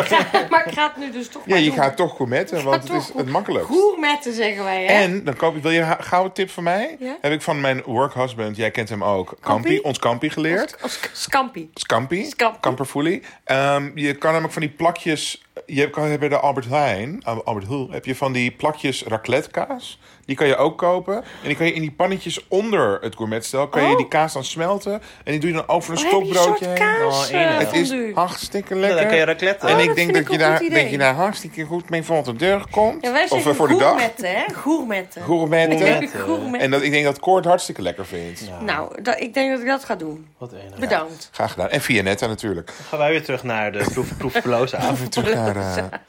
<laughs> ik ga het nu dus toch. Ja, maar je doen. gaat toch gourmetten, want het toch is het makkelijkst. Gourmetten zeggen wij, hè? En dan koop je, wil je een ha- gouden tip van mij? Ja. Heb ik van mijn workhusband, jij kent hem ook, Kampie, ons Kampie geleerd. Als k- scampi. Scampi, Scampi. kamperfoelie. Ehm, je kan namelijk van die plakjes, je kan hebben bij de Albert Heijn, Al- Albert Heijn, heb je van die plakjes racletkaas. Die kan je ook kopen. En die kan je in die pannetjes onder het gourmetstel, kan je Oh. die kaas dan smelten. En die doe je dan over een Oh, heb je een stokbroodje soort heen. Oh, kaas enig. eh, Het is fondue? hartstikke Ja, lekker. dan kan je racletten. en Oh, ik dat denk vind dat, ik je een goed daar, idee. dat je daar hartstikke goed mee van de deur komt. Ja, wij of eh, zeggen voor de dag. gourmetten, hè? Gourmetten. Gourmetten. <laughs> Gourmetten. Gourmetten. En dat, ik denk dat Koort hartstikke lekker vindt. Nou, dat, ik denk dat ik dat ga doen. Wat enig. Bedankt. Graag gedaan. En Vianetta natuurlijk. Gaan wij weer terug naar de proef, proef <laughs> Pelosa. <laughs> Even terug naar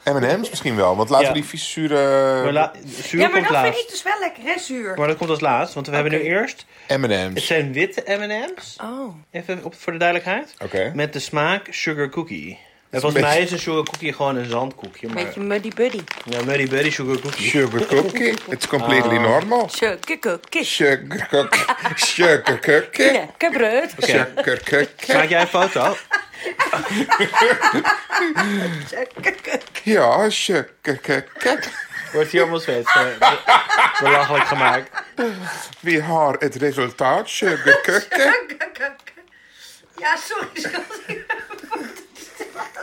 eh, M&M's misschien wel. Want laten Ja. we die vieze zure Maar la- zuur Ja, maar komt dat vind laatst. ik dus wel lekker, hè, zuur. Maar dat komt als laatst, want we hebben nu Oké. eerst... Het M&M's. zijn witte M&M's. Oh. Even op, voor de duidelijkheid. Oké. Met de smaak sugar cookie. En een volgens mij beetje- is een sugar cookie gewoon een zandkoekje. Maar, Beetje muddy buddy. Ja, Muddy Buddy sugar cookie. Ah. Sugar cookie. It's completely normal. Sugar cookie. Sugar cookie. Sugar cookie. Lekker <laughs> brood. Oké, Sugar cookie. maak jij een foto? Ja, sugar cookie. Wordt hier allemaal steeds eh, be- belachelijk gemaakt. We hebben het resultaat. Sugar cookie. Ja, sorry, schat.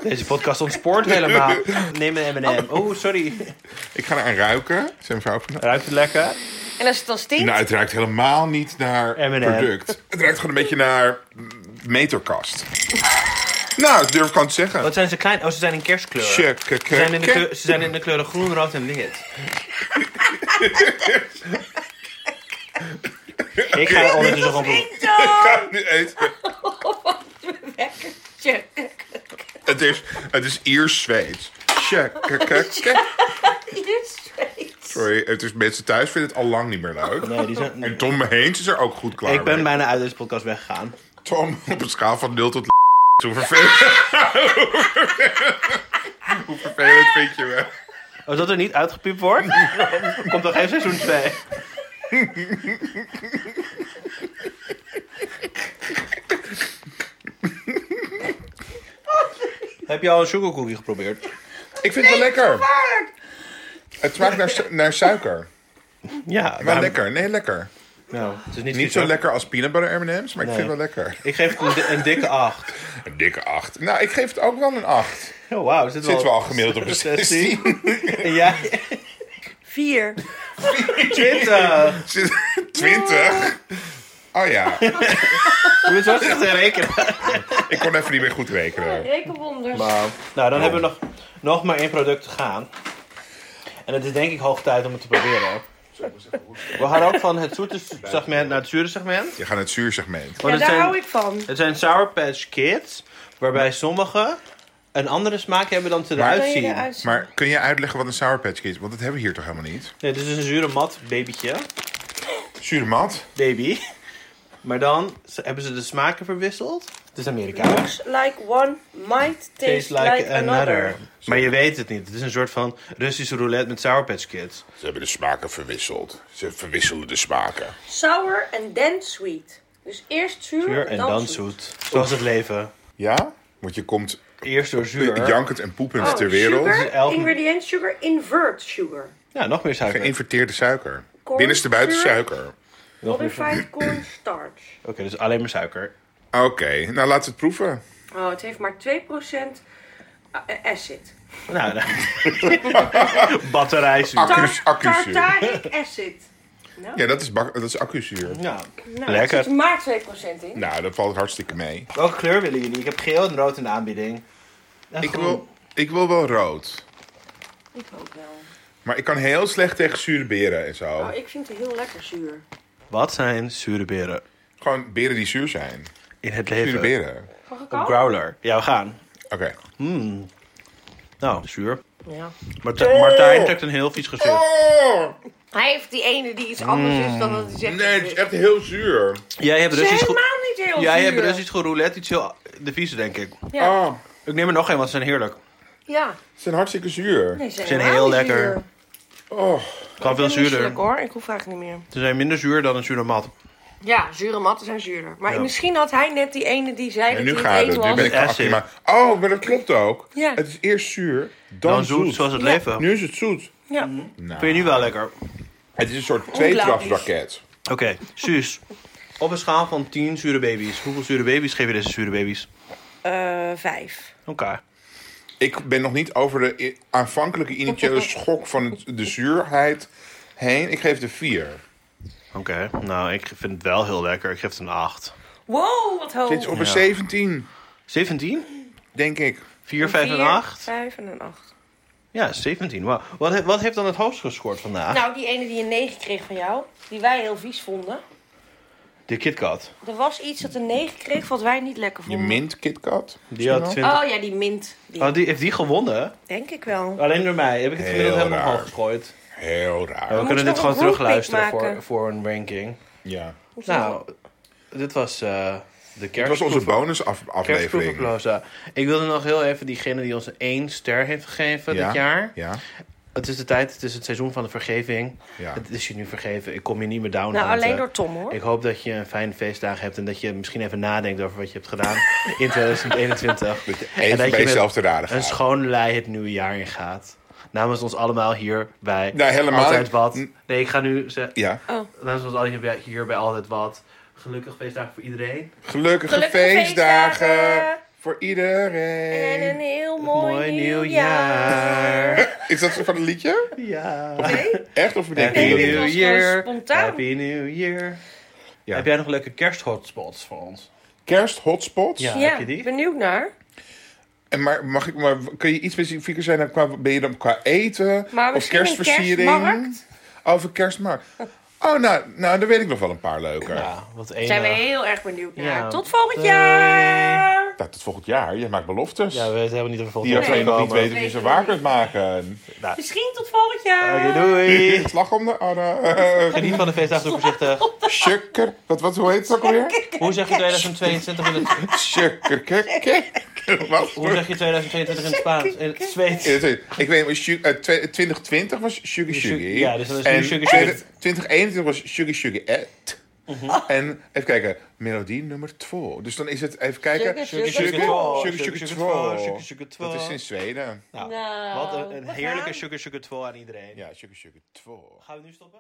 Deze podcast ontspoort helemaal. Neem een M&M. Oh, sorry. Ik ga eraan ruiken. Zijn vrouw van- Ruikt het lekker? En als het dan stinkt? Nou, het ruikt helemaal niet naar M&M. product. Het ruikt gewoon een beetje naar mm, meterkast. Nou, dat durf ik gewoon te zeggen. Wat zijn ze klein? Oh, ze zijn in kerstkleur. Check, Ze zijn in de, kleur- ze zijn in de kleuren groen, rood <laughs> en wit. Ik ga ondertussen gewoon proeven. Ding-dong! Nu eten. Sugar Het is, het is Iers Zweeds. Check, <laughs> cookie. Sorry, het is, mensen thuis vinden het al lang niet meer leuk. Nee, die zijn... En Tom Heens is er ook goed klaar Ik ben mee. bijna uit deze podcast weggegaan. Tom op een schaal van 0 tot Hoe vervelend. <laughs> Hoe vervelend vind je me? Als dat er niet uitgepiept <laughs> wordt, komt er geen seizoen 2. Heb je al een sugarcookie geprobeerd? Ik vind het wel lekker. Het smaakt naar, su- naar suiker. Ja, Maar lekker, nee, lekker. Nou, het is Niet niet, vies, zo hoor. lekker als peanut butter M&M's, maar ik Nee. vind het wel lekker. Ik geef het een, di- een dikke 8. Een dikke 8. Nou, ik geef het ook wel een 8. Oh, wauw. Zit Zitten we al gemiddeld <laughs> op de 16. <laughs> En jij? Vier. 20. Zit- 20? Oh ja, Je moet zo te rekenen. ik kon even niet meer goed rekenen. Rekenwonders. Wauw. Nou, dan hebben we nog, nog maar één product te gaan. En het is denk ik hoog tijd om het te proberen. We gaan ook van het zoete segment naar het zure segment. Je gaat naar het zuursegment. Want het, Ja, daar hou zijn, ik van. het zijn Sour Patch Kids, waarbij sommige een andere smaak hebben dan ze Maar- eruit Kan je zien. eruit zien? Maar kun je uitleggen wat een Sour Patch Kid is? Want dat hebben we hier toch helemaal niet? Nee, dit is dus een zure mat babytje. Zure mat? Baby. Maar dan ze- hebben ze de smaken verwisseld. Het is Amerika. Looks like one might taste like, another. Maar je weet het niet. Het is een soort van Russische roulette met Sour Patch Kids. Ze hebben de smaken verwisseld. Ze verwisselen de smaken. Sour en then sweet. Dus eerst zuur, Zuur en en dan, dan zoet. Oh, zoet. Zoals het leven. Ja? Want je komt Eerst door zuur. jankend en poepend Oh, ter wereld. Dus Sugar, elk- ingredient sugar, invert sugar. Ja, nog meer suiker. Geïnverteerde suiker. Corn, Binnenste buiten sugar. suiker. Nog meer suiker. Modified cornstarch. Oké, dus alleen maar suiker. Oké, nou laten we het proeven. Oh, het heeft maar 2% a- eh, acid. Nou, nou. <laughs> batterijzuur. Accu's, accuzuur. Tartaric acid. Ja, dat is, bak- dat is accuzuur. Ja. Nou, Lekker. Er zit maar 2% in. Nou, dat valt hartstikke mee. Welke kleur willen jullie? Ik heb geel en rood in de aanbieding. En Ik groen. wil, ik wil wel rood. Ik ook wel. Maar ik kan heel slecht tegen zure beren en zo. Oh, ik vind het heel lekker zuur. Wat zijn zure beren? Gewoon beren die zuur zijn. In het Zure leven. beren. Mag ik Op al? Growler. Ja, we gaan. Oké. Nou, zuur. Ja. Mart- Oh. Martijn trekt een heel vies gezicht. Oh, Eh, Hij heeft die ene die iets anders is dan dat hij zegt. Mm. nee, het is echt heel zuur. Jij hebt Het is Russisch helemaal goed. niet heel Jij hebt zuur. Russisch geroulette, iets heel de vieze, denk ik. Ja. Ah, Ik neem er nog een, want ze zijn heerlijk. ja. ze zijn hartstikke zuur. Nee, ze zijn helemaal heel niet lekker. zuur. Oh, Gewoon veel Ik ben misselijk, zuurder. hoor. Ik hoef eigenlijk niet meer. Ze zijn minder zuur dan een zure mat. Ja, zure matten zijn zuurder. Maar Ja. misschien had hij net die ene die zei en dat nu hij gaat het het. eten Nu was. ben ik van Acid. Akima. Oh, maar dat klopt ook. Ja. Het is eerst zuur, dan, Dan zoet, zoet. zoals het Ja. leven. Nu is het zoet. Ja. Nou, Vind je nu wel lekker. Het is een soort Ongelooflijk. tweetrapsraket. Oké, Suus. Op een schaal van 10 zure baby's. Hoeveel zure baby's geef je deze zure baby's? Eh, vijf. Oké. Ik ben nog niet over de i- aanvankelijke <laughs> initiële schok van het- de zuurheid heen. Ik geef de vier. Oh. Oké, nou ik vind het wel heel lekker. Ik geef het een 8. Wow, wat hoog. Zit op een Ja. 17, 17? denk ik. 4, 5 en Vier, 8? Vijf en een acht. Ja, 17. Wauw. Wat, he- wat heeft dan het hoogst gescoord vandaag? Nou, die ene die een negen kreeg van jou, die wij heel vies vonden. De KitKat. Er was iets dat een negen kreeg wat wij niet lekker Je vonden. mint KitKat. Die had 20. Oh ja, die mint. Die Oh, die, heeft die gewonnen? Denk ik wel. Alleen door mij. Heb ik het Heel gemiddeld helemaal raar. omhoog gegooid. Heel Ja, raar. we kunnen nog dit gewoon een grouppick terugluisteren maken. voor, voor een ranking. Ja. Nou, dit was eh, de Het kerst. was onze bonusaflevering. Kerstproevenploza. Ik wilde nog heel even diegene die ons één ster heeft gegeven Ja. dit jaar. Ja. Het is de tijd, het is het seizoen van de vergeving. Ja. Het is je nu vergeven, ik kom je niet meer down. Nou, alleen door Tom hoor. Ik hoop dat je een fijne feestdag hebt en dat je misschien even nadenkt over wat je hebt gedaan in <laughs> 2021. Dat je en even dat bij je met jezelf te raden een gaat. schoon lei het nieuwe jaar in gaat. Namens ons allemaal hier bij Nou, helemaal Altijd niet. Wat. Nee, ik ga nu zeggen, ja. namens ons allemaal hier bij- hier bij Altijd Wat. Gelukkig feestdagen voor iedereen. Gelukkige, Gelukkige feestdagen, feestdagen. voor iedereen. En een heel mooi, Mooi nieuw nieuwjaar. jaar. Is dat zo van een liedje? Ja. Echt of bedenk Happy je dit dat? New was Year. gewoon spontaan. Happy New Year. Ja. Heb jij nog leuke kersthotspots voor ons? Kersthotspots? Ja. Ja, Nou, Heb je die? benieuwd naar. En maar, mag ik, maar kun je iets specifieker zijn? Dan qua, ben je dan qua eten? Maar of misschien een kerstversiering? kerstmarkt? Over kerstmarkt. Oh, nou, nou, daar weet ik nog wel een paar leuke. Ja, wat een. Zijn we heel erg benieuwd naar. Ja. Tot volgend Doei. jaar! Nou, tot volgend jaar. Je maakt beloftes. Ja, we hebben niet of die volgende als je keer nog komen. niet weet of je ze waar kunt maken. Misschien tot volgend jaar! Oké, Nou, <laughs> doei. Slag om de... Oh, nou, Geniet van de feestdagen, doe <laughs> voorzichtig. Shukker. Wat, wat, hoe heet het ook alweer? Hoe zeg je 2022 in het, Shukker. Kek, <laughs> kek. Wat? hoe zeg je 2022 in het Spaans? In het Zweeds? Ja, sorry. Ik weet, maar Shu- eh, twe- 2020 was Sugar Sugar. ja, dus dat is nu en Sugar Mhm. Sugar. 20- 2021 was Sugar Sugar Ed. Oh. En even kijken, melodie nummer 2. Dus dan is het, even kijken. Sugar Sugar Sugar Sugar Sugar Sugar Sugar Sugar Sugar Sugar Sugar Dat is in Zweden. Nou, Nou, wat een, een we heerlijke gaan. sugar sugar 2 aan iedereen. Ja, Sugar Sugar 2. Gaan we nu stoppen?